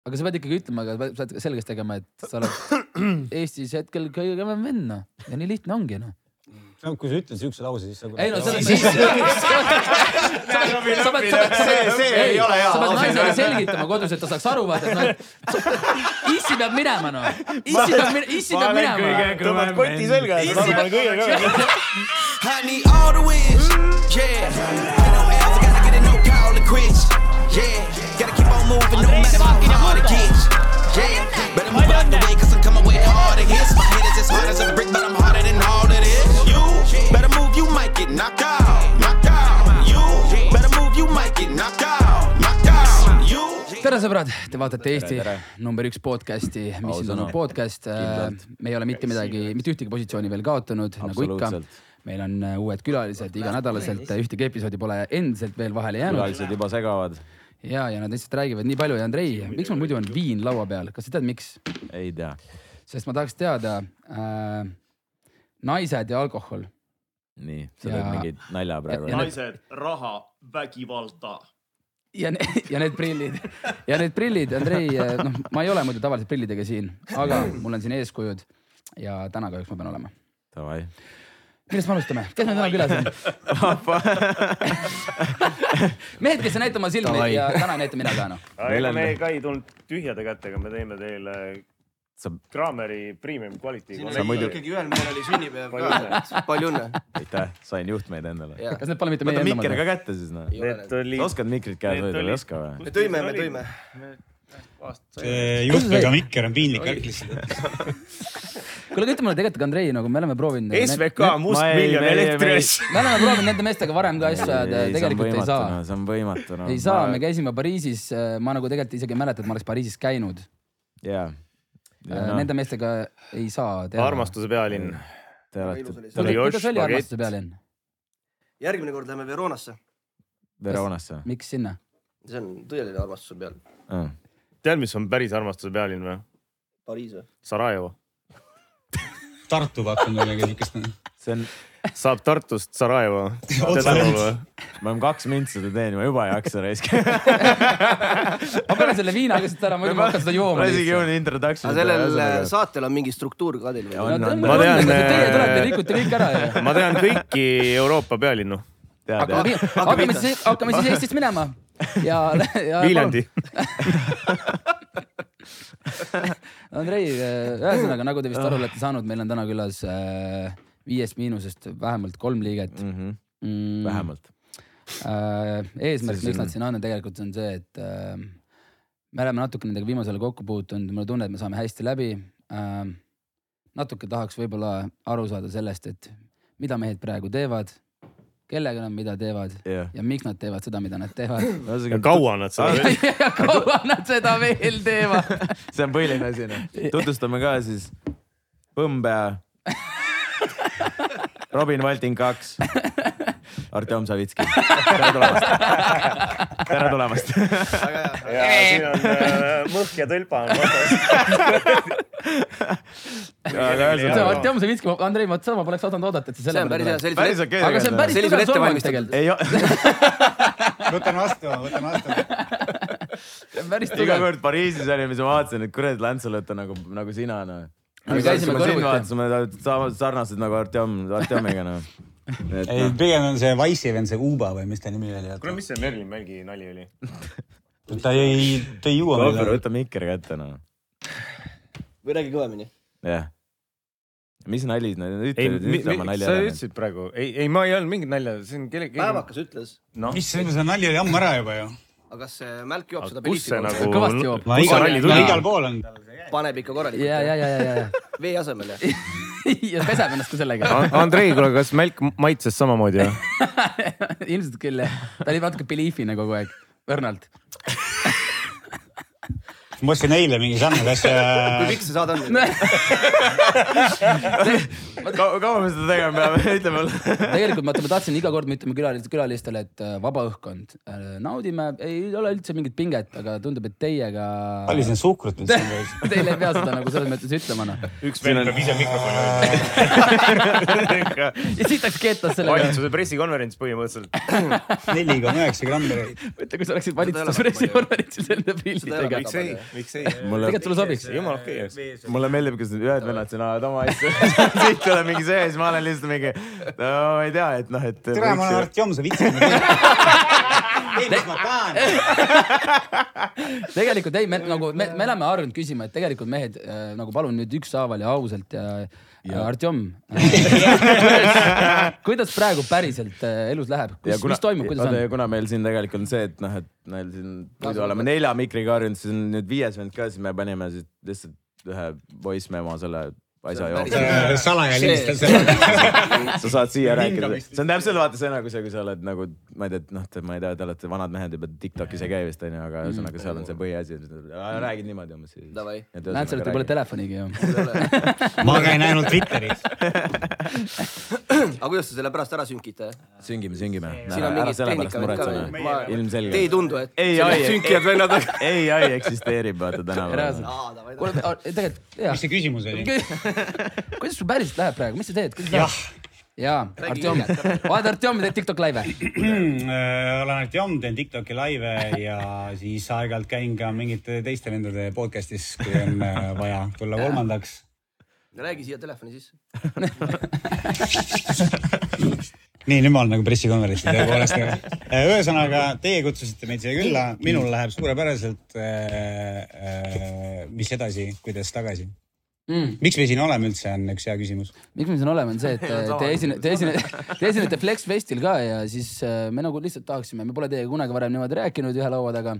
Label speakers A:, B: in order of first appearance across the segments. A: aga sa pead ikkagi ütlema, aga sa pead selgeks tegema, et sa oled Eestis hetkel kõige kõvem vend noh ja nii lihtne ongi noh .
B: no kui sa ütled siukse lause , siis nagu .
A: ei no selles mõttes . sa pead , sa pead ,
C: See- see ei ole hea
A: sa pead
C: lause.
A: naisele selgitama kodus , et ta saaks aru , vaata , et noh , issi peab minema noh , issi peab minema , issi peab minema .
C: tõmbad koti selga ja saad aru .
D: I need all the wins. Yeah. No L's, I gotta get a no call to quits. Yeah. Gotta keep on moving no matter how hard it gets. Yeah. Better move out the way cause I'm coming with harder hits. My head is as hard as a brick, but I'm harder than all of this. You better move, you might get knocked out. Knocked out. You better move, you might get knocked out. Knocked out. You.
A: tere sõbrad , te vaatate Eesti number üks podcast'i , mis siin on podcast . me ei ole mitte midagi , mitte ühtegi positsiooni veel kaotanud , nagu ikka .
C: Absoluutselt.
A: meil on äh, uued külalised iganädalaselt , ühtegi episoodi pole endiselt veel vahele jäänud .
C: külalised juba segavad .
A: ja , ja nad lihtsalt räägivad nii palju ja Andrei , miks mul muidu on viin laua peal , kas sa tead , miks ?
C: ei tea .
A: sest ma tahaks teada äh, naised ja alkohol .
C: nii , sa teed
A: Ja-
C: mingit nalja praegu
A: ja . need-
E: naised , raha , vägivalda .
A: ja , ja need prillid ja need prillid , Andrei , noh , ma ei ole muidu tavaliselt prillidega siin , aga mul on siin eeskujud ja täna kahjuks ma pean olema .
C: Davai .
A: millest me alustame , kes meil täna külas on ? mehed , kes ei näita oma silmi ja täna ei näita mina ka noh .
F: ega
C: Millal-
F: me ka ei tulnud tühjade kätega , me teeme teile
C: sa ,
F: Kraameri premium kvaliteedi .
C: sa muidu ,
G: ikkagi ühel mehel oli sünnipäev
F: Palju õnne.
G: ka , palju õnne .
C: aitäh , sain juhtmeid endale .
G: Jah.
A: kas need pole mitte meie
C: võta
A: enda
C: mikker
A: omad ?
C: ka kätte siis noh .
F: Need olid .
C: oskad mikrit käes hoida või ei oska või ?
G: me tõime , me tõime .
H: juhtmega mikker on piinlik värk lihtsalt .
A: kuule , aga ütle mulle tegelikult , Andrei , nagu me oleme proovinud .
F: SVK must
C: Ma ei-
F: miljon
C: me- me-
F: elektriasju .
A: me oleme proovinud nende meestega varem ka asju ajada ja tegelikult ei saa .
C: noh, see on võimatu no. .
A: ei saa , me käisime Pariisis , ma nagu tegelikult isegi ei mäleta , et ma oleks Pariisis käinud .
C: jaa .
A: Äh,
C: noh,
A: Nende meestega ei saa teha .
F: armastuse pealinn .
C: Te
G: Ilus oli
C: olete
G: see.
A: Kuule,
F: Oli
A: kuidas
F: Josh
A: oli
F: Bagett.
A: armastuse pealinn ,
G: järgmine kord läheme Veroonasse ,
C: Veronasse .
A: miks sinna ?
G: see on tõeline armastus on peal .
F: tead , mis on päris armastuse pealinn või ?
G: Pariis või ?
F: Sarajevo .
H: Tartu vaatan midagi siukest .
C: see on ,
F: saab Tartust Sarajevo . tead
H: Otse
F: aru
H: nüüd.
F: või ?
C: me oleme kaks mint seda teinud , ma juba ei jaksa raiskama .
A: ma pean selle viinaga siit ära , muidu ma hakkan seda jooma .
C: ma isegi jõuan introduction'i .
G: aga sellel äh, saatel on mingi struktuur ka teil
C: Ja
G: või ?
C: on.
F: Ma tean,
A: Teie
F: äh,
A: tulete , rikute kõik ära ju .
F: ma tean kõiki Euroopa pealinnu .
C: tead
A: hakkame ,
C: jah ?
A: hakkame siis , hakkame siis Eestist minema ja, ja .
F: Viljandi .
A: Andrei , ühesõnaga , nagu te vist aru olete saanud , meil on täna külas äh, viiest miinusest vähemalt kolm liiget mm, .
C: Mhm, vähemalt .
A: äh, . eesmärk , miks nad siin on , on tegelikult on see , et äh, me oleme natuke nendega viimasel ajal kokku puutunud , mul on tunne , et me saame hästi läbi äh, . natuke tahaks võib-olla aru saada sellest , et mida mehed praegu teevad , kellega nad mida teevad
C: Jah.
A: ja miks nad teevad seda , mida nad teevad .
C: ühesõnaga ,
F: kaua nad seda .
A: ja kaua nad seda veel teevad ?
C: see on põhiline asi , noh . tutvustame ka siis Põmbea . Robin Valting kaks . Artjom Savitski . tere tulemast . tere tulemast .
F: ja siin on äh, Mõhk ja Tõlpa on vastas .
C: aga
A: see on
C: ühesõnaga .
A: Artjom Savitski , Andrei , vot seda ma poleks osanud oodata , et sa
G: see
A: selle
G: on päris hea ,
C: päris
G: sellisel
C: okei .
A: aga see on päris
G: Sellisel
A: tugev solvang
G: ettevalmistel-
A: tegelikult ,
C: ei ,
H: võtan vastu , võtan vastu .
A: see on päris
C: iga
A: tugev .
C: kord Pariisis olime , siis ma vaatasin , et kuradi Lantsalõtt on nagu , nagu sina , noh .
A: Me käisime kõrvuti.
C: vaatasime , sarnased nagu Artjom , Artjomiga , noh . et
H: ei , pigem on see Wise'i vend , see Uba või mis ta nimi oli .
F: mis see Merlin Mälgi nali oli ?
H: ta ei , ta ei jõua
C: noh ,
H: meile .
C: võta mikker kätte , noh .
G: või räägi kõvemini .
C: jah . mis nali , ütle
F: ei ,
C: nüüd , ütle oma noh. nalja
F: sa . ütlesid praegu , ei , ei , ma ei olnud mingit nalja , see on kellegi .
G: päevakas ütles ,
F: noh ,
H: issand , see nali oli ammu ära juba ju .
G: aga kas see mälk joob seda
F: kus see nagu .
A: Kõvasti joob.
H: ma
F: kus see
H: igal ,
F: nali
H: ma
F: tuli ?
H: igal pool on tal .
G: paneb ikka korralikult
A: ja , ja , ja , ja , ja ,
G: vee asemel ja
A: ja peseb ennast ka sellega .
F: Andrei , kuule , kas mälk maitses samamoodi või ?
A: ilmselt küll jah , ta oli natuke Beliefi'na kogu aeg , õrnalt .
H: ma ostsin eile mingi sarnase asja .
G: kui pikk see saade on ?
C: kaua me seda tegema peame , ütleme .
A: tegelikult vaata , ma tahtsin iga kord , me ütleme külalistele , külalistele , et äh, vaba õhkkond , naudime , ei ole üldse mingit pinget , aga tundub , et teiega .
H: palju siin suhkrut üldse on täis ?
A: Teile ei pea seda nagu selles mõttes ütlema noh .
F: üks vend peab ise mikrofoni hoidma .
A: ja siis läks keetas selle peale .
F: valitsuse pressikonverents põhimõtteliselt .
H: neli koma üheksa grammi .
A: mõtle , kui sa oleksid
G: ei ole
A: valitsuses
G: väga
A: pressikonverentsil enda pildidega .
F: miks ei , miks ei ?
C: mulle ,
A: tegelikult sulle sobiks .
F: jumala okei oleks .
C: mulle meeldib , kuidas need ühed vennad siin ajavad oma asju . siit tuleb mingi see ja siis ma olen lihtsalt mingi , no ma ei tea , et noh , et .
H: tere , ma olen Artjom , sa vitsid . ei , mis ma tahan .
A: tegelikult ei , me nagu , me , me oleme harjunud küsima , et tegelikult mehed äh, nagu palun nüüd ükshaaval ja ausalt ja, ja. Artjom äh, . kuidas praegu päriselt äh, elus läheb , mis toimub , kuidas on ?
C: kuna meil siin tegelikult on see , et noh , et meil siin muidu oleme nelja mikriga harjunud , siis on nüüd viies vend ka , siis me panime siis lihtsalt ühe voice memo selle asja jooksul .
H: salaja lindistan selle .
C: sa saad siia rääkida , see on täpselt vaata see nagu see , kui sa oled nagu , ma ei tea , noh , ma ei tea , te olete vanad mehed juba , Tiktokis ei käi vist onju , aga ühesõnaga seal on see põhiasi , räägid niimoodi umbes .
G: Davai.
A: näed , sa oled
C: nagu
A: võib-olla . telefonigi ju .
H: ma käin ainult Twitteris .
G: aga kuidas te selle pärast ära sünkite ?
C: süngime , süngime .
G: siin on
C: ära
G: mingid
C: sellepärast
G: tehnikad ka
C: muretseme ,
G: veel . Te ei
C: ilmselgelt .
G: tundu , et
C: ei , ai ,
G: sünkijad vennad on .
C: ei , ai eksisteerib vaata tänapäeval .
A: kuule , tegelikult jah
H: mis , see küsimus oli ?
A: kuidas sul päriselt läheb praegu , mis sa teed , kuidas läheb ? jaa , Artjom , vaata Artjomi teeb Tiktok laive .
H: Äh, olen Artjom , teen Tiktoki laive ja siis aeg-ajalt käin ka mingite teiste vendade podcast'is , kui on äh, vaja tulla kolmandaks .
G: räägi siia telefoni sisse .
H: nii , nüüd ma olen nagu pressikonverentsil tõepoolest . ühesõnaga , teie kutsusite meid siia külla , minul läheb suurepäraselt . mis edasi , kuidas tagasi ?
A: Mm.
H: miks me siin oleme üldse , on üks hea küsimus .
A: miks me siin oleme , on see , et äh, te esine- , te esine- , te esinete Flex Festil ka ja siis äh, me nagu lihtsalt tahaksime , me pole teiega kunagi varem niimoodi rääkinud ühe laua taga .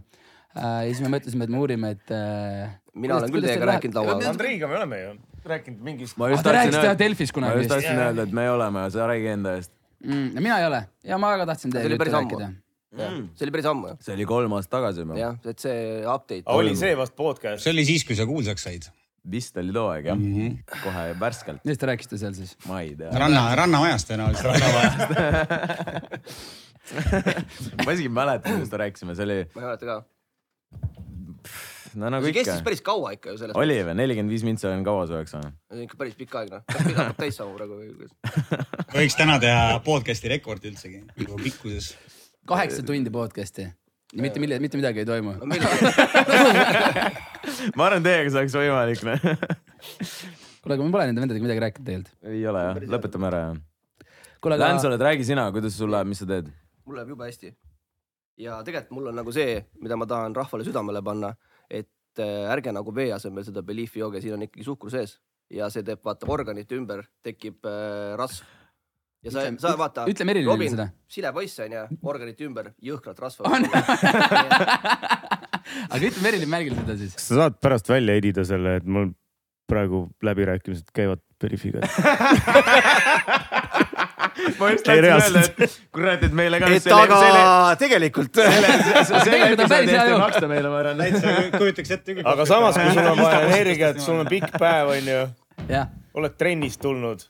A: ja siis me mõtlesime , et me uurime , et . äh,
G: mina olen küll teiega rääkinud laua taga .
F: Andreiga me oleme ju rääkinud mingist .
C: ma
G: Ah,
A: Aga te rääkisite jah Delfis kunagi
C: ma just
A: vist.
C: tahtsin öelda , et me oleme , sa räägi enda eest .
A: mm, . mina ei ole ja ma väga tahtsin
G: oli
A: teiega juttu
G: päris ammu.
A: rääkida .
G: see oli päris ammu
C: see oli kolm aastat tagasi juba .
G: jah , et see update .
F: oli see vast podcast .
H: see oli siis , kui sa kuulsaks said .
C: vist oli too aeg jah mm , -hmm. kohe värskelt ,
A: millest te rääkisite seal siis ?
C: ma ei tea ,
H: ranna , rannamajast tõenäoliselt .
C: ma isegi ei mäleta , millest me rääkisime , see oli ,
G: ma ei mäleta ka .
C: no nagu
G: see
C: ikka
G: kestis , päris kaua ikka ju selles mõttes .
C: oli või , nelikümmend viis mintsa on kaua soojaks olnud .
G: ikka päris pikk aeg noh . kas meil hakkab täis saama praegu või kuidas ?
H: võiks täna teha podcast'i rekordi üldsegi , pikkuses .
G: Äh,
A: kaheksa tundi podcast'i ja mitte mille , mitte midagi ei toimu .
C: ma arvan , teiega see oleks võimalik , noh .
A: kuule , aga me pole nende vendadega midagi rääkinud tegelikult .
C: ei ole jah , lõpetame ära jah .
A: kuule ,
C: Läns ,
A: aga
C: oled , räägi sina , kuidas sul läheb , mis sa teed ?
G: mul läheb jube hästi . ja tegelikult mul on nagu see , mida ma tahan rahvale südamele panna , et äh, ärge nagu vee asemel seda Beliefi jooge , siin on ikkagi suhkur sees ja see teeb , vaata organite ümber tekib äh, rasv . ja sa , sa vaata .
A: ütle Merilile seda. .
G: sile poiss onju , organite ümber jõhkrad rasva .
A: aga ütle Merilin Mälgil seda siis .
I: kas sa saad pärast välja edida selle , et mul praegu läbirääkimised käivad Periffiga ?
C: ma just
I: Ei, reaalselt. ,
C: et kurat , et meile ka .
G: tegelikult .
A: tegelikult on päris hea jook.
C: maksta meile , ma arvan .
H: kujutaks ette küll .
F: aga samas , kui sul on vaja energiat , sul on pikk päev , onju ,
A: jah ,
F: oled trennist tulnud .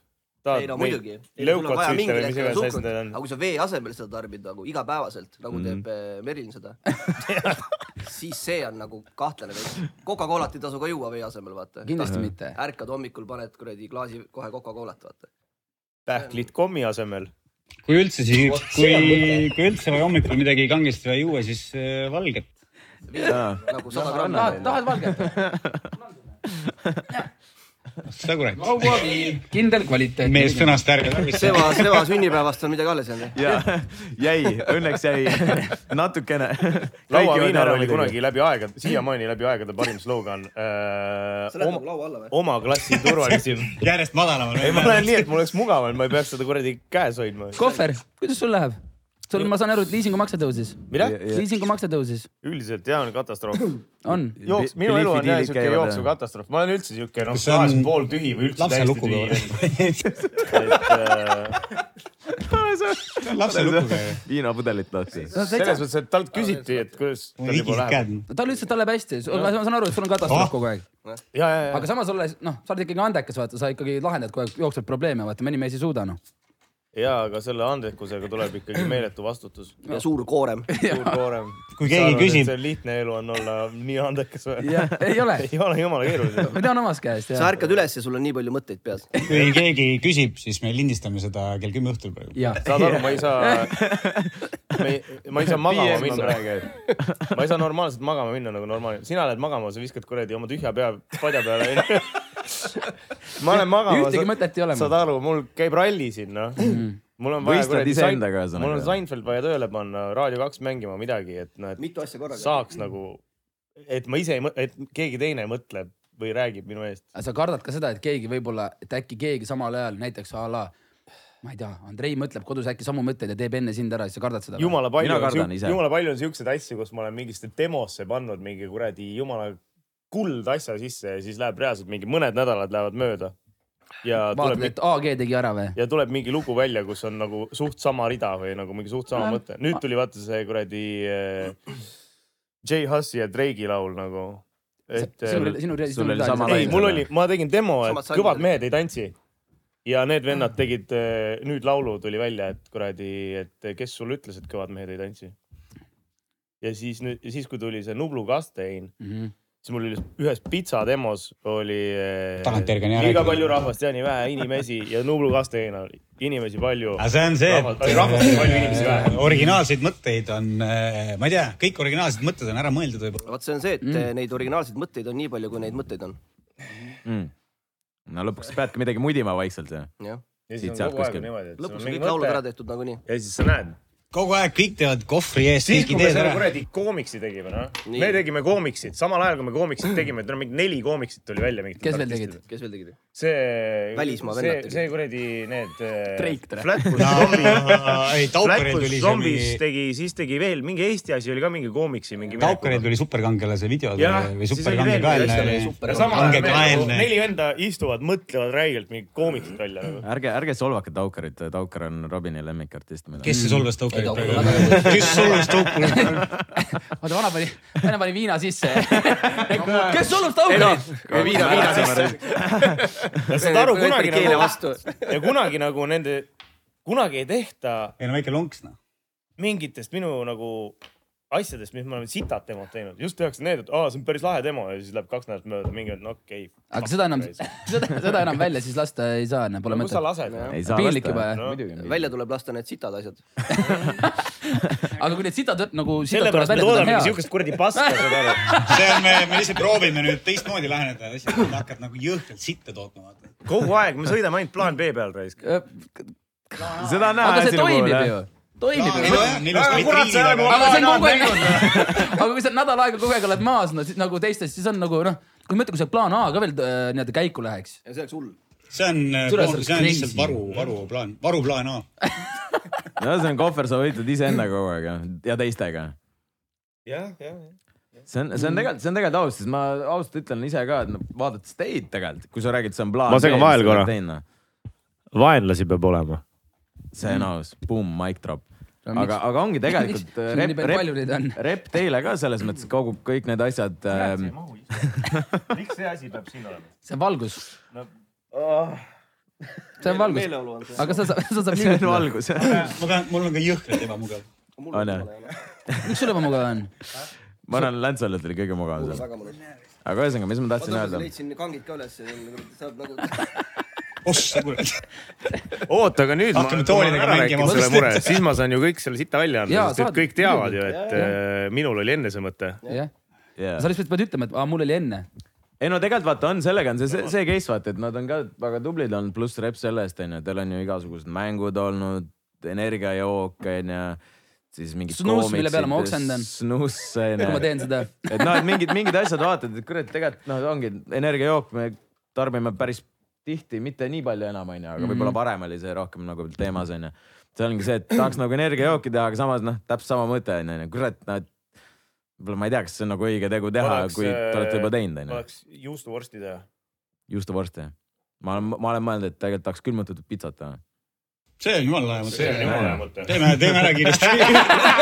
G: ei no muidugi .
F: lõukatsüüte või mis iganes asjad need on
G: aga . kui sa vee asemel seda tarbid nagu igapäevaselt , nagu mm -hmm. teeb äh, Merilin seda , siis see on nagu kahtlane veits . Coca-Colat ei tasu ka juua vee asemel , vaata .
A: kindlasti mitte .
G: ärkad hommikul , paned kuradi klaasi kohe Coca-Colat , vaata .
F: pähklit kommi asemel .
H: kui üldse siis , kui , kui üldse või hommikul midagi kangesti ei juua , siis äh, valget .
G: nagu sada grammi .
A: tahad , tahad valget ?
H: seda kurat .
A: kindel kvaliteet .
H: mees sõnast ärge tarvita .
G: Seva , Seva sünnipäevast on midagi alles jäänud .
C: jaa , jäi , õnneks jäi natukene .
F: lauaviinar oli kunagi läbi aegade , siiamaani läbi aegade parim slogan
G: sa lähed
F: äh, .
G: nagu laua alla või ?
F: oma klassi turvalisim .
H: järjest
F: ei , ma lähen
H: madalamale .
F: nii , et mul oleks mugav , et ma ei peaks seda kuradi käes hoidma .
A: kohver , kuidas sul läheb ? sul , ma saan aru , et liisingumakse tõusis .
F: mida ?
A: liisingumakse tõusis ,
F: üldiselt jah , on katastroof .
A: on .
F: jooks , minu elu on jah siuke jooksukatastroof , ma olen üldse siuke noh ,
H: Kas see on
J: äh,
F: vahest pooltühi või üldse
H: lapse
F: täiesti
H: luku
F: tühi
H: peal? .
F: et äh,
C: saa .
H: lapse lukuga ju.
C: viinapudelit lahti .
A: No täitsa-
J: selles mõttes , et talt küsiti , et kuidas .
H: mul higis käed .
A: tal lihtsalt , tal läheb hästi , ma saan aru , et sul on katastroof
H: Oh.
A: kogu aeg .
J: ja , ja , Ah. ja .
A: aga samas olles , noh , sa oled ikkagi andekas , vaata , sa ikkagi lahendad kogu aeg jooksvaid probleeme , vaata , mõni mees ei suuda , noh .
J: ja , aga selle andekusega tuleb ikkagi meeletu vastutus .
G: ja suur koorem .
J: suur koorem .
H: Kui keegi küsib-
J: see lihtne elu on olla nii andekas või ?
A: ei ole ,
J: ei ole jumala keeruline .
A: ma tean omast käest ,
G: sa
A: jah .
G: ärkad üles ja sul on nii palju mõtteid peas .
H: kui keegi küsib , siis me lindistame seda kell kümme õhtul praegu .
A: jah ,
J: saad aru , ma ei saa , ma ei saa magama minna . ma ei saa normaalselt magama minna nagu normaalne . sina lähed magama , sa viskad kuradi oma tühja pea padja peale onju . ma lähen magama .
A: Ühtegi mõtet ei ole mul. Mhm.
J: saad aru , mul käib ralli siin noh . mul on vaja
C: Võistled
J: Sein-
C: iseendaga, ühesõnaga.
J: mul on
A: nagu.
J: Seinfeld vaja tööle panna , Raadio kaks mängima midagi , et noh ,
G: mitu asja
J: et
G: korraga .
J: saaks nagu , et ma ise ei mõtle , et keegi teine mõtleb või räägib minu eest .
A: sa kardad ka seda , et keegi võib-olla , et äkki keegi samal ajal näiteks a la , ma ei tea , Andrei mõtleb kodus äkki samu mõtteid ja teeb enne sind ära , siis sa kardad seda .
J: jumala palju
C: Mina
J: on
C: kardan
J: siuk-
C: ise.
J: jumala palju on siukseid asju , kus ma olen mingisse demosse pannud mingi kuradi jumala kuldasja sisse ja siis läheb reaalselt mingi mõned nädalad lähevad mööda . ja
A: vaatad ,
J: tuleb ,
A: et AG tegi ära või ?
J: ja tuleb mingi lugu välja , kus on nagu suht sama rida või nagu mingi suht
C: Äh,
J: sama mõte . nüüd tuli vaata see kuradi äh, J Hussi ja Drake'i laul nagu . et
A: sinu ,
J: äh,
A: sinu reis
C: sul oli sama
J: ei ,
C: laine.
J: mul oli , ma tegin demo ,
G: Samad
J: et
G: sangid.
J: kõvad mehed ei tantsi . ja need
G: Ah.
J: vennad tegid , nüüd laulu tuli välja , et kuradi , et kes sulle ütles , et kõvad mehed ei tantsi . ja siis nüüd , siis kui tuli see Nublu Kastein ,
A: Mhm.
J: siis mul oli ühes pitsa demos oli .
H: Tagantjärgi on hea
J: liiga
H: rääkida.
J: palju rahvast ja nii vähe inimesi ja Nublu Kastein oli inimesi palju .
H: aga see on see ,
J: Rahvas- ei, rahvast on palju, inimesi vähe.
H: originaalseid mõtteid on , ma ei tea , kõik originaalsed mõtted on ära mõeldud võib-olla .
G: vot see on see , et mm. neid originaalseid mõtteid on nii palju , kui neid mõtteid on .
C: Mm. no lõpuks peadki midagi mudima vaikselt .
G: jah ,
J: ja
C: Siit
J: siis
C: sealt
J: on kogu aeg
C: kuskil.
J: on niimoodi , et
G: lõpuks on kõik laulud ära tehtud nagunii .
J: ja siis sa näed
H: kogu aeg kõik teevad kohvri eest
J: siis ,
H: kõik
J: kui me
H: ideed
J: selle
H: ära .
J: kuradi koomiksi tegime , noh .
G: Nii.
J: me tegime koomiksit , samal ajal kui me koomiksit tegime , no mingi neli koomiksit tuli välja .
A: Kes veel tegid? ?
G: kes veel tegid ?
J: see ,
G: Välismaa
J: see
G: vennad , tegid.
J: see kuradi need . äh,
A: Drake tere.
J: Flatbush
H: ei , Taukaril
J: Flatbush
H: tuli see
J: Zombies
H: mingi ,
J: tegi , siis tegi veel mingi Eesti asi oli ka mingi koomiksi mingi .
H: Taukaril tuli superkangelase video
J: Jah,
H: tuli- või
J: siis oli veel mingi
H: superkangekaelne
J: asja, . ja samal ajal me nagu
H: kangekaelne .
J: neli venda istuvad , mõtlevad räigelt mingit koomiksit välja nagu .
C: ärge , ärge solvake Taukarit , Taukar on Robini lemmikartist .
H: kes see solvas
G: Ei,
H: Taukarit
G: Taukar-
H: praegu ? kes solvas Taukarit ?
A: oota , vana pani , vana pani viina sisse . kes solvab Taukarit ?
J: viina , viina sisse . saad aru , kunagi
G: keele
J: nagu ,
G: vastu .
J: ja kunagi nagu nende , kunagi ei tehta
H: ei no väike lonks noh .
J: mingitest minu nagu asjadest , mis me oleme sitad demot teinud , just tehakse need , et aa , see on päris lahe demo ja siis läheb kaks nädalat mööda , mingi on okei okay, .
A: aga seda enam , seda , seda enam välja siis lasta ei saa , pole
J: kus sa
A: mõtet .
J: lased ? noh?
C: ei saa
A: piinlik juba, jah.
C: muidugi .
G: välja tuleb lasta need sitad asjad .
A: aga kui need sitad nagu .
J: sellepärast me toodamegi siukest kuradi paska , saad aru .
H: see on , me , me lihtsalt proovime nüüd teistmoodi läheneda , lihtsalt hakkad nagu jõhkralt sitta tootma vaata .
J: kogu aeg me sõidame ainult plaan B peal raisk .
C: seda on näha
A: Äh, aga see toimib . ju , toimib ju . aga see on kogu aeg , aga kui sa nädal aega kogu aeg oled maas , no siis nagu teistest , siis on nagu noh , kui mõtle , kui see plaan A ka veel äh, nii-öelda käiku läheks .
G: ja see oleks hull .
H: see on ,
A: Tule, sa oled
H: see on lihtsalt
A: crazy.
H: varu , varuplaan , varuplaan A .
C: no see on kohver , sa võitled iseendaga kogu aeg ja , ja teistega .
J: jah , jah , jah .
C: see on , see on tegelikult , see on tegelikult aus , sest ma ausalt ütlen ise ka , et no vaadates teid tegelikult , kui sa räägid , see on plaan .
K: Ma segan vahele korra. . vaenlasi peab olema .
C: noh. see on aus , boom , mic drop . aga , aga ongi tegelikult
A: Miks? Sul nii
C: rep ,
A: palju- palju neid on?
C: rep , rep teile ka selles mõttes kogub kõik need asjad . ehm,
J: mahu miks see asi peab siin olema ?
A: see on valgus ,
C: ah.
J: Oh,
A: see on valgus ,
G: meeleolu on see .
A: aga sa , sa , sa saad
C: see on
A: liigutada .
C: valgus .
H: ma pean , mul on ka jõhkralt ebamugav .
G: mul
C: on jah.
A: miks sul ebamugav on ?
C: ma arvan , Läntsalet oli kõige mugavam seal .
G: väga mõnus . ma
C: aga ühesõnaga , mis ma tahtsin
G: tõmbas ,
C: öelda ?
G: leidsin kangid ka üles , saab nagu .
H: ossa kurat .
J: oota , aga nüüd
H: Hakkame toolidega mängima,
J: selle
H: otsustad.
J: mure , siis ma saan ju kõik selle sita välja anda
A: Jaa, ,
J: sest
A: saad.
J: et kõik teavad ju , et äh, minul oli enne see mõte .
A: jah ,
C: Yeah.
A: sa lihtsalt pead ütlema , et aa, mul oli enne .
C: ei no tegelikult vaata on sellega on see , see, see case vaata , et nad on ka väga tublid olnud , pluss rep selle eest onju , teil on ju igasugused mängud olnud , energiajook onju , siis mingid .
A: Snus, mille peale ma oksendan.
C: Snuss
A: kui ma
C: onju .
A: teen seda .
C: et noh , et mingid , mingid asjad vaatad , et kurat , tegelikult noh , ongi energiajook , me tarbime päris tihti , mitte nii palju enam onju , aga võib-olla varem oli see rohkem nagu teemas onju . see ongi see , et tahaks nagu energiajooki teha , aga samas noh , täpselt sama mõte onju , kurat , noh et võib-olla ma ei tea , kas see on nagu õige tegu teha , kui te olete juba teinud onju .
J: äh, oleks juustuvorsti teha .
C: juustuvorste . ma olen , ma olen mõelnud , et tegelikult tahaks külmutatud pitsat teha .
H: see on jumala lahe mõte .
J: See on jumala hea mõte.
H: teeme , teeme ära kiiresti .